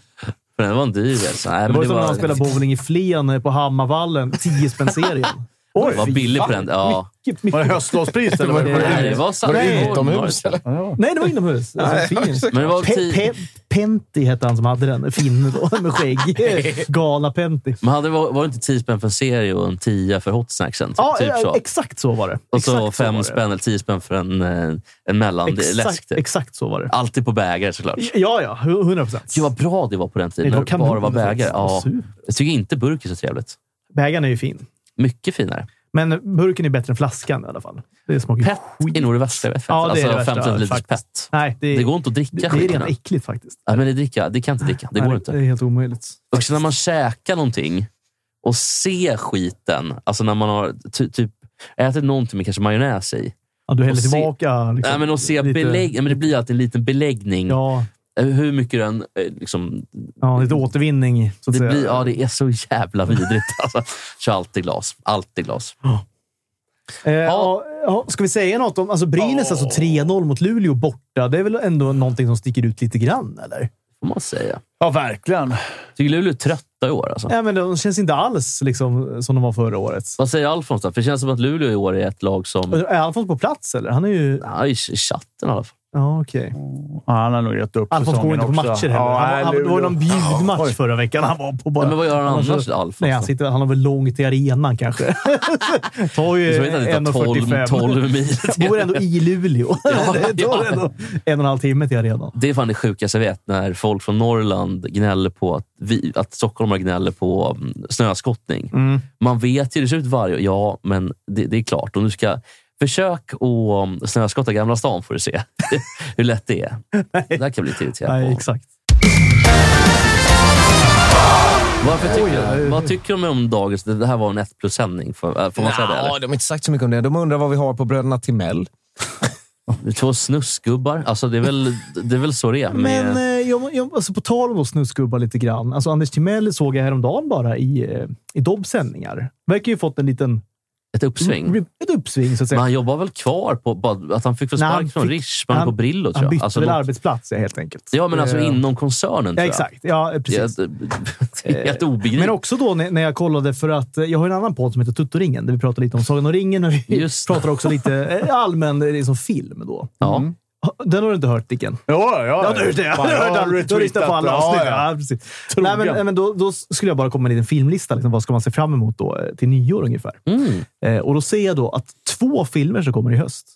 S3: För den var en dyr resa. Nej,
S1: Det
S3: men
S1: var ju som när man spelade bowling i Flen eh, på Hammarvallen. 10 spänn
S3: *laughs*
S1: serien.
S3: Det var billigt på den. Ja.
S1: Mycket, mycket.
S2: Var det höstlovspris eller? Var det...
S3: Nej, det var sant.
S1: det
S4: Utomhus eller?
S1: Nej, det var inomhus. Alltså, fin.
S3: Men det var
S1: Pe-
S3: tio...
S1: pe- Penti hette han som hade den. Finne då, *laughs* med
S3: *laughs*
S1: skägg. Gala Penti.
S3: Men hade, var, var det inte 10 spänn för en serie och en 10 för hotsnacksen? Typ,
S1: Ja,
S3: typ
S1: ja,
S3: så.
S1: exakt så var det.
S3: Och så
S1: Exakt var
S3: fem
S1: det.
S3: spänn eller 10 spänn för en, eh, en mellanläsk.
S1: Exakt,
S3: typ.
S1: exakt så var det.
S3: Alltid på bägare såklart.
S1: Ja, ja. 100 procent.
S3: Gud vad bra det var på den tiden.
S1: Det var
S3: när Det bara
S1: kanon,
S3: var bägare.
S1: faktiskt.
S3: Ja.
S1: Super.
S3: Jag tycker inte burk är så trevligt.
S1: Bägaren är ju fin.
S3: Mycket finare.
S1: Men burken är bättre än flaskan i alla fall. Det smakar ju
S3: Pet är nog det värsta jag vet.
S1: Ja, det är det
S3: alltså
S1: värsta,
S3: 15 liters
S1: faktiskt.
S3: pet.
S1: Nej, det,
S3: Det går inte att dricka
S1: Det, det är
S3: skiten.
S1: rent äckligt faktiskt.
S3: Nej, men det, dricka, det kan jag inte dricka. Det går
S1: Nej,
S3: inte.
S1: Det är helt omöjligt.
S3: Och sen när man käkar någonting och ser skiten, alltså när man har ty, typ ätit någonting med kanske majonnäs i.
S1: Ja, du häller
S3: se-
S1: tillbaka. Liksom,
S3: Nej, men att se
S1: lite-
S3: belägg, ja, men det blir alltid en liten beläggning.
S1: Ja,
S3: Eh, Hur mycket den... eh, Liksom,
S1: ja, lite återvinning. Så att
S3: det,
S1: säga.
S3: blir, ja, det är så jävla vidrigt. *laughs* Alltså, kör alltid glas. Alltid glas.
S1: Eh,
S3: Ja.
S1: ja. ja, ska vi säga något om... Alltså Brynäs alltså 3-0 mot Luleå borta. Det är väl ändå någonting som sticker ut lite grann, eller?
S3: får man säga.
S2: Ja, verkligen.
S3: Tycker Luleå är trötta i år? Alltså.
S1: Ja, men de känns inte alls liksom, som de var förra året.
S3: Vad säger Alfons då? För det känns som att Luleå i år är ett lag som...
S1: Är Alfons på plats, eller? Han är ju...
S3: Ja, i ch- chatten i alla fall.
S1: Ja, okej.
S2: Ja, han har nog gett upp
S1: Alfons går inte på matcher heller. han, var- han, det var ju någon bjudmatch
S2: Oj.
S1: förra veckan. Han var på bara...
S3: Ja, men vad gör han
S1: Annars-
S3: annars, alltså? Alfons?
S1: Nej, han,
S3: då?
S1: sitter, han har väl långt till arenan
S3: *laughs*
S1: kanske. Tar ju
S3: Jag tror inte han hittar 12,
S1: 1.45.
S3: 12 mil.
S1: *laughs* Bor ändå i *laughs* Luleå. det tar
S3: ja.
S1: ändå en och en halv timme till arenan.
S3: Det är fan det sjukaste jag vet, när folk från Norrland gnäller på att, vi, att stockholmare gnäller på mm, snöskottning.
S1: Mm.
S3: Man vet ju hur det ser ut varje år. Ja, men det, det är klart. Om du ska Försök att mm, snöskotta Gamla stan får du se *laughs* hur lätt det är. Det där kan jag bli lite irriterad
S1: Nej,
S3: på.
S1: exakt.
S3: Varför tycker, vad tycker de om dagens... Det här var en 1 plus-sändning. Får, äh, får man säga det?
S4: Ja,
S3: Eller?
S4: de har inte sagt så mycket om det. De undrar vad vi har på bröderna Timell.
S3: Två snusgubbar. Alltså, det, är väl, det är väl så det är. Med,
S1: Men eh, jag, jag, alltså på tal om då snusgubbar lite grann. Alltså Anders Timell såg jag häromdagen bara i, eh, i Dobbs sändningar. Verkar ju fått en liten
S3: ett uppsving.
S1: ett uppsving, så att
S3: Men
S1: säga.
S3: han jobbar väl kvar på... bara Att han fick väl
S1: Nej, han
S3: spark från
S1: fick-
S3: Rish, men på Brillo tror
S1: Han
S3: jag.
S1: bytte
S3: Alltså,
S1: väl
S3: något-
S1: arbetsplats, ja, helt enkelt.
S3: ja, men alltså
S1: Eh,
S3: inom koncernen
S1: Ja,
S3: tror jag.
S1: exakt. Ja, eh,
S3: Det är,
S1: precis.
S3: *laughs*
S1: Eh,
S3: det är helt
S1: Men
S3: obegripligt.
S1: också då när när jag kollade, för att eh, jag har en annan podd som heter Tuttoringen, där vi pratar lite om Sagan om ringen och vi
S3: Just det.
S1: pratar också lite eh, allmän eh, liksom, film. Då. Mm.
S3: Ja.
S1: Den har du inte hört, Dicken?
S2: Jo, ja, ja.
S1: Ja, du har gjort det.
S2: Fan,
S1: Du har hört
S2: jag har
S1: all- Du har lyssnat på alla
S2: retweetat.
S1: avsnitt.
S2: Ja,
S1: Ja,
S2: ja.
S1: precis. Nej,
S2: Trogen.
S1: men, nej, men då, då skulle jag bara komma med en liten filmlista. Liksom, vad ska man se fram emot då, eh, till nyår ungefär?
S3: Mm.
S1: Eh, och då ser jag då att två filmer som kommer i höst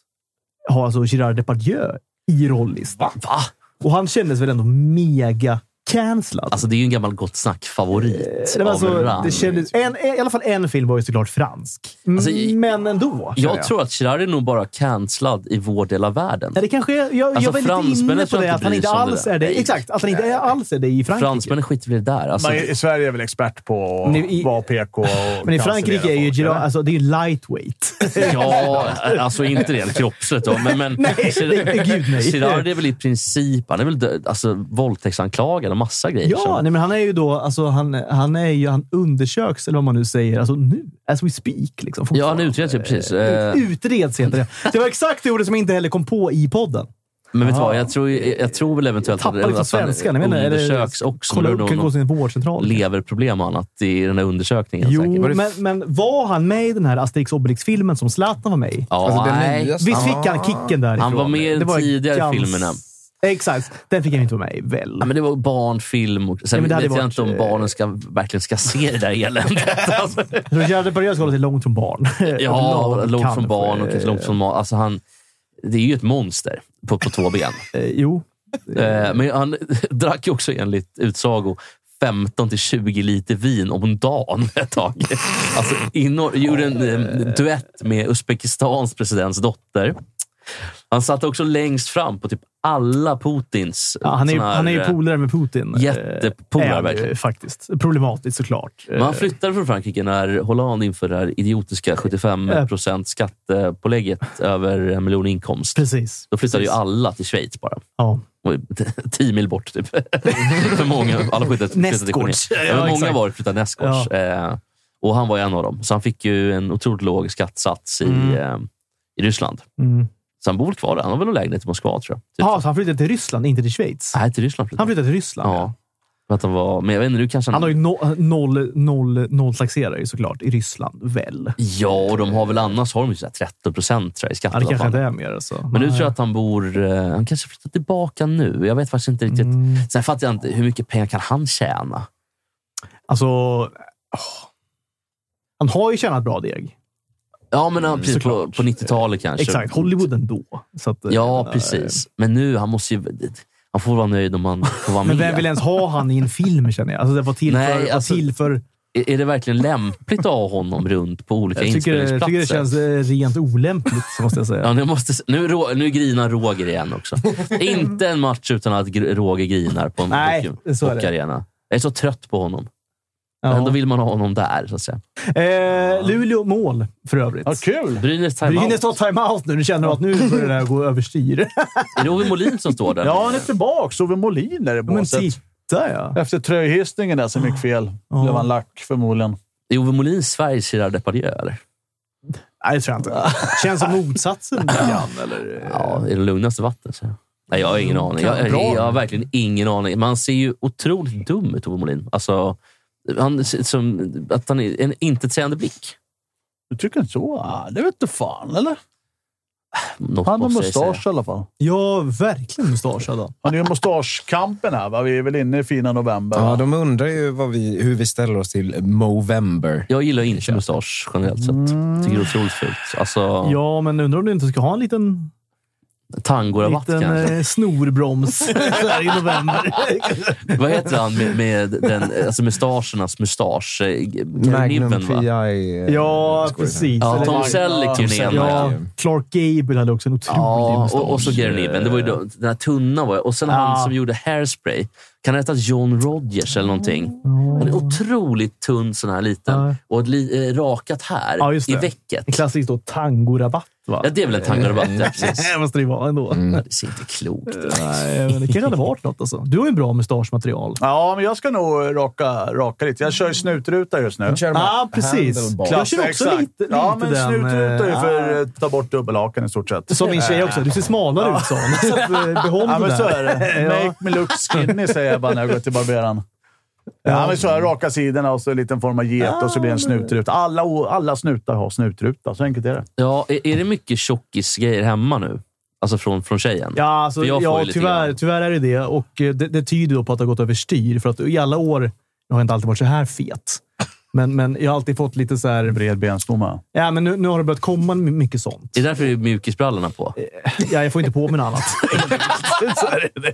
S1: har alltså Gerard Depardieu i rollistan.
S3: Va?
S1: Och han kändes väl ändå mega cancellad.
S3: Alltså, det är ju en gammal Gott Snack-favorit.
S1: Det, var
S3: av
S1: alltså,
S3: rang.
S1: det kändes, en, en, I alla fall en film var ju såklart fransk.
S3: Alltså, i-
S1: men ändå. känner
S3: Jag tror att Chirard är nog bara cancellad i vår del av världen.
S1: Ja, det kanske är, jag,
S3: Alltså,
S1: jag var lite
S3: fransmännen
S1: inne på
S3: tror jag
S1: det,
S3: inte
S1: att han
S3: bryr
S1: inte
S3: sig om
S1: alls
S3: det där.
S1: är det.
S3: Nej.
S1: Exakt, att han inte är- alls är det i Frankrike.
S3: Fransmännen skiter väl i det där. Alltså,
S2: Men i i Sverige är väl expert på att
S1: Men i-
S2: vara PK och
S1: Men i
S2: cancellera
S1: Frankrike är ju
S2: folk,
S1: Gerard,
S2: eller?
S1: alltså, det är ju lightweight.
S3: *laughs* Ja, alltså inte rent kroppsligt då, men, men
S1: *laughs* Nej, nej, gud, nej.
S3: Gerard är väl i princip han är väl död, alltså, våldtäktsanklagad och massa grejer.
S1: ja,
S3: så.
S1: nej, men han är ju då, alltså, han, han är ju, han undersöks, eller vad man nu säger, alltså nu, as we speak. Liksom,
S3: ja han
S1: fortfarande.
S3: utreds ju precis. Eh,
S1: Ut- Utreds heter det. Det var exakt det ordet som jag inte heller kom på i
S3: Alltså,
S1: podden.
S3: Men vet du vad, jag tror, jag tror väl eventuellt
S1: Tappar liksom svenskan. Jag menar, eller-
S3: undersöks också.
S1: Kolla
S3: Kolla,
S1: upp, kan gå
S3: någon
S1: till en vårdcentral.
S3: leverproblem och annat i den här undersökningen. säkert.
S1: Jo,
S3: Var det-
S1: men, men var han med i den här Asterix Obelix-filmen som Zlatan var med i?
S3: ja,
S4: Alltså, den
S3: nej.
S4: nyaste-
S1: Visst fick han kicken därifrån?
S3: Ah. Han var med i
S1: Det var
S3: tidigare
S1: gans-
S3: filmerna.
S1: Exakt. Den fick han inte vara med i, väl?
S3: Ja, men det var barnfilm. Och, sen
S1: Ja, men det hade
S3: vet jag
S1: varit,
S3: inte om
S1: eh,
S3: barnen ska, verkligen ska se det där
S1: *laughs*
S3: eländet. Alltså,
S1: Jag tror Gerhard Perrells roll är långt från barn.
S3: *laughs* ja, långt
S1: Kanske.
S3: från barn och kanske långt från ma- alltså han Det är ju ett monster på, på två ben.
S1: Eh, jo.
S3: Eh, Men han *laughs* drack ju också enligt utsago 15-20 liter vin om dagen *laughs* ett tag. Alltså, inor, gjorde en eh, duett med Uzbekistans presidents dotter. Han satt också längst fram på typ alla Putins...
S1: Ja, han är ju,
S3: såna här,
S1: han är ju
S3: eh,
S1: polare med Putin. Eh, är
S3: jättepolare,
S1: han ju
S3: verkligen.
S1: Faktiskt. Problematiskt såklart. Eh,
S3: Men han flyttade från Frankrike när Hollande införde det här idiotiska 75
S1: Eh.
S3: skattepålägget över en miljon inkomst.
S1: Precis.
S3: Då flyttade ju
S1: Precis.
S3: alla till Schweiz bara.
S1: Ja.
S3: Och *laughs* Tio mil bort, typ. *laughs* För många. Alla flyttade flyttade till
S1: Nästgårds.
S3: Genève.
S1: Ja,
S3: Ja, men många
S1: exakt.
S3: var flyttade nästgårds. Eh, och han var ju en av dem. Så han fick ju en otroligt låg skattesats i,
S1: Mm.
S3: eh, i Ryssland.
S1: Mm.
S3: Så han bor väl kvar där. Han har väl någon lägenhet i Moskva, tror jag. Typ.
S1: Ja, så han flyttade till Ryssland, inte till Schweiz?
S3: Nej, till Ryssland flyttade
S1: Han flyttade till Ryssland.
S3: Ah. Ja. Mm. För att han var... Men jag vet inte, nu kanske
S1: Han har ju no, noll, noll, noll taxerare såklart i Ryssland, väl?
S3: Ja, och de har väl annars har de ju så här 13 procent i skatt.
S1: Ja, det
S3: i alla
S1: kanske
S3: fall.
S1: inte är mer. Alltså.
S3: Men nu tror jag att han bor... eh, Han kanske flyttar tillbaka nu. Jag vet faktiskt inte riktigt.
S1: Mm.
S3: Sen fattar jag inte, hur mycket pengar kan han tjäna?
S1: Alltså, åh. Han har ju tjänat bra deg.
S3: Ja, men han, precis, på,
S1: såklart.
S3: på 90-talet kanske.
S1: Exakt. Hollywood ändå. Så att,
S3: Ja,
S1: eh,
S3: precis. Men nu, han måste ju... Han får vara nöjd om han får vara
S1: Men
S3: med.
S1: vem vill ens ha han i en film, känner jag? Alltså, det var till
S3: Nej,
S1: för...
S3: alltså,
S1: var till för
S3: Är- Är det verkligen lämpligt att ha honom runt på olika
S1: jag, tycker, jag
S3: inspelningsplatser?
S1: tycker det känns eh, rent olämpligt, måste jag
S3: *laughs* Ja,
S1: säga.
S3: nu, måste, nu, rå- nu grinar Roger igen
S1: *laughs*
S3: också. Inte en match utan att gr- Roger grinar på en
S1: Nej,
S3: hockey-
S1: så är det.
S3: hockeyarena. Jag är så trött på honom.
S1: Ja.
S3: Ändå vill man ha honom där, så att säga.
S1: Eh, Luleå mål, för övrigt.
S2: Ja, kul!
S3: Brynäs
S1: Brynäs
S3: timeout.
S1: tar timeout nu. Nu känner de att nu börjar det här gå
S3: *laughs*
S1: överstyr.
S3: Är det Ove Molin som står där?
S2: Ja, han är tillbaka. Ove Molin är i
S1: Men
S2: båset.
S1: titta, ja.
S2: Efter tröjhissningen där som gick fel blev han lack förmodligen.
S3: Är Ove Molin Sveriges Gerard Depardieu, eller?
S1: Nej, det tror jag inte. Känns som motsatsen lite grann, eller? eh,
S3: Ja, i det lugnaste vattnet. Så. Nej, jag har ingen aning. Jag,
S1: Mm, Bra.
S3: jag, jag har verkligen ingen aning. Man ser ju otroligt dum ut, Ove Molin. Alltså, han, ser ut som, att han är en intetsägande blick.
S2: Du tycker inte så? Ah, det vet du fan, eller?
S3: Något
S2: Han har
S3: måste jag säga.
S2: mustasch i alla fall.
S1: Ja, verkligen mustasch hade han.
S2: Han är ju mustaschkampen här, va? Vi är väl inne i fina november.
S4: Ja,
S2: va?
S4: de undrar ju vad vi, hur vi ställer oss till Movember.
S3: Jag gillar inte mustasch generellt sett. Tycker det är otroligt fult. Alltså,
S1: Mm. Ja, men undrar om du inte ska ha en liten,
S3: Tangorabatt
S1: liten
S3: kanske.
S1: eh, snorbroms *laughs* så här i
S3: *laughs*
S1: november. eh,
S3: Vad heter han med, med den, alltså mustaschernas mustasch? eh, Nibben,
S4: Magnum
S3: va?
S4: PI. eh,
S1: ja,
S4: skådespelare.
S1: precis.
S3: Ja,
S1: Eller-
S3: Tom Selleck är ju den ena.
S1: ja, Clark Gable hade också en otrolig
S3: Ja,
S1: mustasch.
S3: och, och så Gary Nibben. Det var ju då, den här tunna. Var, och sen han
S1: Ja.
S3: som gjorde Hairspray. Kan det heta John Rogers eller någonting? Han är otroligt tunn, sån här liten.
S1: Mm. Ja.
S3: Och ett li, eh, rakat här
S1: Ja, just
S3: i
S1: det.
S3: vecket.
S1: En klassisk då, tangorabatt, va?
S3: Ja, det är väl en tangorabatt.
S1: Mm.
S3: Ja, precis. Mm.
S1: det *laughs* måste det ju vara ändå.
S3: Det ser inte klokt ut.
S1: Nej, men det kanske hade varit något. Alltså. Du har ju bra mustaschmaterial.
S2: Ja, men jag ska nog raka, raka lite. Jag kör ju snutruta just nu.
S4: Kör de här
S1: Ja, ah, precis.
S4: handlebar.
S1: Jag kör också
S2: Exakt.
S1: lite, lite
S2: Ja, men
S1: den...
S2: snutruta är ju
S1: eh,
S2: för att ta bort dubbelhaken i stort sett.
S1: Som min tjej också. Du ser smalare ut, sa hon. Så att, eh, behåll
S2: *laughs* Ja,
S1: det
S2: men
S1: där.
S2: så är det. Make me look skinny, säger jag bara när jag går till barberaren. Ja, Ah. men så här, raka sidorna och så en liten form av get och så blir det en snutruta. Alla, o- alla snutar har snutruta, så enkelt är det.
S3: Ja, är, är det mycket tjockisgrejer hemma nu? Alltså från, från tjejen?
S1: Ja, alltså,
S3: För jag får
S1: ja
S3: ju lite
S1: tyvärr,
S3: grann.
S1: tyvärr är det det. Och eh, det, det tyder då på att det har gått överstyr. För att i alla år jag har jag inte alltid varit så här fet. Men, men jag har alltid fått lite så här...
S2: Bred *laughs* benstomme.
S1: Ja, men nu, nu har det börjat komma m- mycket sånt.
S3: Det är därför det är mjukisbrallorna på.
S1: Eh, Ja, jag får inte på mig något annat. så är det.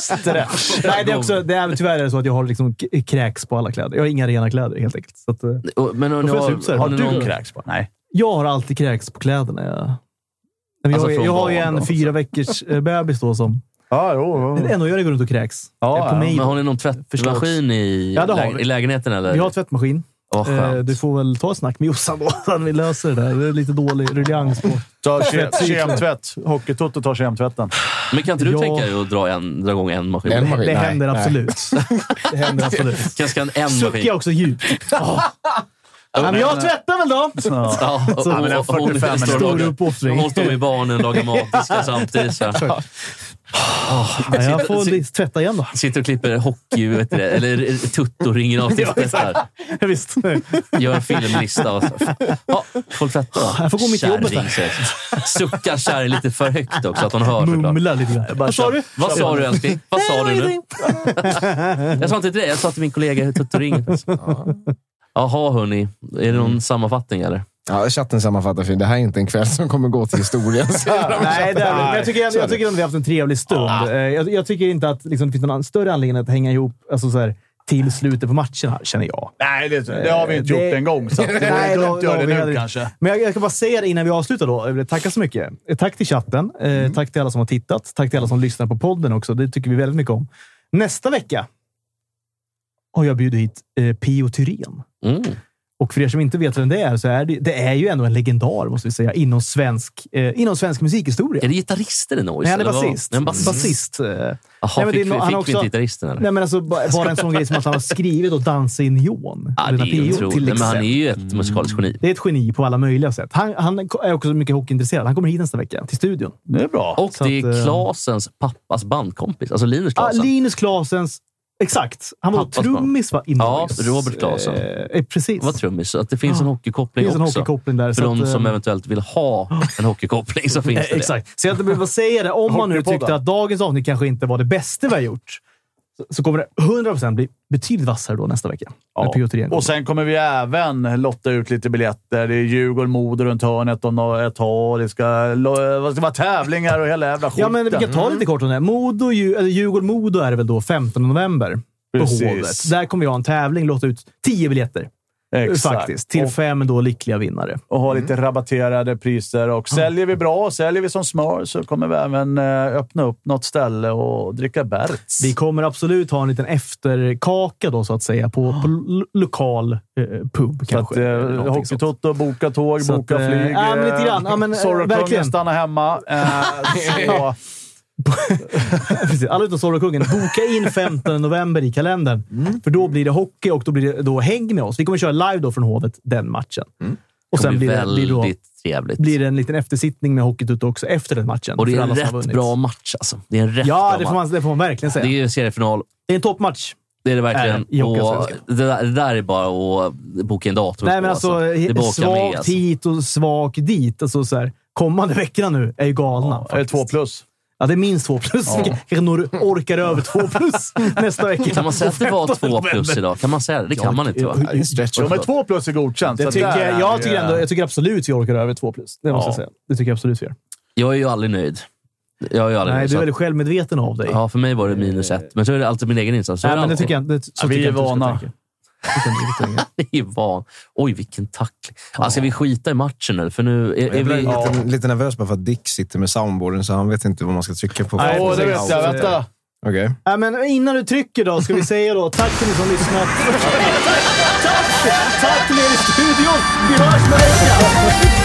S1: Stretch. *laughs* Nej, det är också, det är, tyvärr är det så att jag har liksom k- kräks på alla kläder. Jag har inga rena kläder helt enkelt. Så att, eh,
S3: Och- Men har,
S1: Då
S3: ni-
S1: får jag se ut så
S3: har,
S1: här.
S3: har
S1: Har
S3: ni
S1: du
S3: någon...
S2: Kräks bara. Nej.
S1: Jag har alltid kräks på kläderna. Jag, Nej, men
S3: Alltså
S1: jag,
S3: från
S1: jag har ju
S3: barn då,
S1: en fyra veckors eh, bebis då som...
S2: Ja, jo.
S1: Men
S2: jo.
S1: ändå jag går runt och kräks.
S2: Ja,
S1: Eh, på
S2: ja.
S1: mig.
S3: Men har ni någon tvättmaskin i,
S1: Ja, det har
S3: läg-
S1: vi.
S3: i lägenheten? Eller?
S1: Vi har tvättmaskin.
S3: Åh, skönt.
S1: Eh, Du får väl ta ett snack med Jossan då, *laughs* så att vi löser det där. Det är lite dålig ruljans på.
S2: Ta ke- kemtvätt. Hockeytoto tar kemtvätten.
S3: Men kan inte du
S1: Ja.
S3: tänka dig att dra, en, dra igång en maskin?
S4: En maskin.
S1: Det
S4: Nej,
S1: händer
S4: nej.
S1: *laughs* absolut. Det händer absolut.
S3: Kanske ska en, en
S1: Suckar jag
S3: maskin.
S1: också djupt. *laughs* Ja. Ja, men jag tvättar väl då!
S2: Ja.
S3: *laughs* Ja, och-
S1: *laughs* Så-
S3: och- och- hon,
S2: men en 45
S3: står och
S1: Stor
S3: lagar-
S1: uppoffring.
S3: hon står med barnen och lagar mat och ska samtidigt. Så. här.
S1: Ja, jag får li- tvätta igen då.
S3: Sitter och klipper hockey, vet du det, eller tuttoringen avsnittstestar.
S1: *laughs* Ja, visst.
S3: Gör en filmlista. Och så. Ja, får tvätta då.
S1: Jag får gå mitt i jobbet
S3: Kärring,
S1: här.
S3: säger jag. Suckar kärring lite för högt också, att hon hör såklart.
S1: Mumla lite grann. Vad sa du?
S3: Vad sa du älskling? Vad sa du nu?
S1: ingenting.
S3: Jag sa inte till dig, jag sa till min kollega Tuttoring. Jaha hörni, är det någon sammanfattning eller?
S4: Ja, chatten sammanfattar fint. Det här är inte en kväll som kommer gå till historien.
S1: Nej, det är, men jag tycker, jag, jag tycker ändå vi har haft en trevlig stund. Eh, Jag, jag tycker inte att liksom, det finns någon an- större anledning att hänga ihop alltså, så här, till slutet på matchen, här, känner jag.
S2: *laughs* Nej, det, det har vi inte
S1: Det-
S2: gjort en gång. *laughs* Så att det
S1: *laughs* Nej,
S2: är
S1: då-
S2: dumt att
S1: då
S2: göra
S1: har vi
S2: det nu
S1: aldrig-
S2: kanske.
S1: Men jag, jag ska bara säga det innan vi avslutar då. Jag vill tacka så mycket. Eh, Tack till chatten. Eh, Tack till alla som har tittat. Tack till alla som lyssnar på podden också. Det tycker vi väldigt mycket om. Nästa vecka har jag bjudit hit eh, Pio Thyrén.
S3: Mm.
S1: Och för er som inte vet vem det är, så är det, det är ju ändå en legendar, måste vi säga, inom svensk, eh, inom svensk musikhistoria.
S3: Är det gitarristen i Noise?
S1: Nej, han är
S3: eller vad?
S1: basist.
S3: En
S1: basist. eh.
S3: Jaha,
S1: men det är
S3: fick,
S1: nog-
S3: vi,
S1: han
S3: fick
S1: har
S3: vi
S1: också-
S3: inte gitarristen eller?
S1: Nej, men alltså, ba- bara en sån grej som att han har skrivit och dansat i neon.
S3: Ja, det
S1: Lena
S3: är ju
S1: Pio,
S3: otroligt.
S1: till
S3: Men han är
S1: exempel. Mm.
S3: ju ett musikaliskt geni.
S1: Det är ett geni på alla möjliga sätt. Han, han är också mycket hockeyintresserad. Han kommer hit nästa vecka till studion.
S2: Det är bra.
S3: Och
S1: Så
S3: det
S1: att,
S3: är
S1: eh,
S3: Klasens pappas bandkompis, alltså Linus
S1: Ah,
S3: Klasen.
S1: Linus Klasens... Exakt. Han var
S3: Pappas
S1: trummis va? i
S3: Ja,
S1: Noise.
S3: Robert Claesson.
S1: Eh, Eh, precis.
S3: var trummis. Så att det finns en
S1: Ja, Det
S3: hockeykoppling
S1: Ah. finns en
S3: också.
S1: hockeykoppling där.
S3: För
S1: så att,
S3: de som
S1: eh,
S3: eventuellt vill
S1: *gasps*
S3: ha en hockeykoppling så finns
S1: eh,
S3: det det.
S1: Exakt. Så jag behöver säga det. Om man nu
S2: Hockeypodden.
S1: tyckte att dagens avsnitt kanske inte var det bästa vi har gjort, så- så kommer det 100% bli betydligt vassare då nästa vecka. När Pio Thyrén
S2: Och sen kommer vi även lotta ut lite biljetter. Det är Djurgården-Modo runt hörnet om nå- ett tag. Det ska, lo- vad ska vara tävlingar och hela jävla skiten.
S1: Ja, men vi kan ta lite kort om det. Modo, Dju- eller Djurgården-Modo är det väl då 15 november på
S2: Precis.
S1: Hovet. Där kommer vi ha en tävling, låta ut 10 biljetter
S2: Exakt.
S1: faktiskt. Till Mm.
S2: Och-
S1: fem då lyckliga vinnare.
S2: och ha lite rabatterade priser.
S1: Ah.
S2: Och säljer vi bra, säljer vi som smör, så kommer vi även eh, öppna upp något ställe och dricka Berts.
S1: Vi kommer absolut ha en liten efterkaka då, så att säga, på, på lo- lokal eh, pub
S2: Så att,
S1: kanske. eller
S2: eh,
S1: någonting sånt. *laughs*
S2: Hockeytoto, boka tåg,
S1: Så att,
S2: boka
S1: eh,
S2: flyg.
S1: ja, men lite grann. Ja, men, eh,
S2: Sorokungen
S1: verkligen.
S2: stanna hemma.
S1: *laughs*
S2: Eh, så,
S1: Precis, alla utom Sorokungen. Boka in 15 november i kalendern.
S2: Mm.
S1: För då blir det hockey och då blir det då häng med oss. Vi kommer köra live då från Hovet den matchen.
S2: Mm.
S1: Och
S3: Det
S1: sen
S3: kommer
S1: blir
S3: bli
S1: det, blir,
S3: väldigt
S1: då,
S3: trevligt.
S1: blir det en liten eftersittning med Hockeytutt också efter den matchen.
S3: och det
S1: för
S3: är
S1: alla
S3: en
S1: som har
S3: rätt
S1: vunnit.
S3: bra match alltså. Det är en rätt
S1: Ja,
S3: bra
S1: det får, man, det får man verkligen säga.
S3: match.
S1: Det är,
S3: Det är seriefinal.
S1: en toppmatch.
S3: Det är det verkligen.
S1: Är det i
S3: och
S1: Hockeyallsvenskan?
S3: det, där, det där är bara att boka en dator.
S1: Nej, men
S3: på,
S1: alltså,
S3: Det är bara att åka med,
S1: svagt
S3: alltså.
S1: hit och svagt dit. Alltså, så här, kommande veckorna nu är ju galna.
S2: är det
S1: faktiskt.
S2: eh, två plus?
S1: Ja, det är minst två plus. *laughs* Kanske några orkar över två
S3: *laughs*
S1: plus nästa vecka.
S3: Kan man säga att
S1: *laughs*
S3: det var två plus idag? Kan man säga det? Det kan man inte va?
S4: Det är stretch.
S2: Jo, men två plus är godkänt.
S1: Det
S2: så
S1: tycker
S2: där
S1: jag,
S2: är
S1: jag,
S2: vi,
S1: tycker
S2: eh,
S1: ändå, jag tycker absolut vi orkar över två plus. Det måste
S2: Ja.
S1: jag säga. Det tycker jag absolut vi gör.
S3: Jag är ju aldrig nöjd. Jag är ju aldrig
S1: Nej,
S3: nöjd.
S1: du är
S3: så
S1: väldigt självmedveten av dig.
S3: att- Ja, för mig var det minus ett. Men så är det alltid min egen insats. Så är
S1: Nej, men det
S3: alltid.
S1: tycker jag, det, så
S2: Ja, vi
S1: tycker jag
S2: är
S1: inte du ska
S2: vana.
S1: tänka. Det kan du inte tänka.
S3: *laughs* Det är van. Oj, vilken tackling. Alltså, ska vi skita i matchen nu? För nu är, är
S4: Jag
S3: vi...
S4: blir lite, lite nervös bara för att Dick sitter med soundboarden, så han vet inte vad man ska trycka på.
S2: Nej, åh, det vet jag. Vänta.
S4: Okej.
S1: Ja, men innan du trycker då, ska vi säga då tack till ni som lyssnat. tack, tack till er i studion. Vi hörs nästa vecka.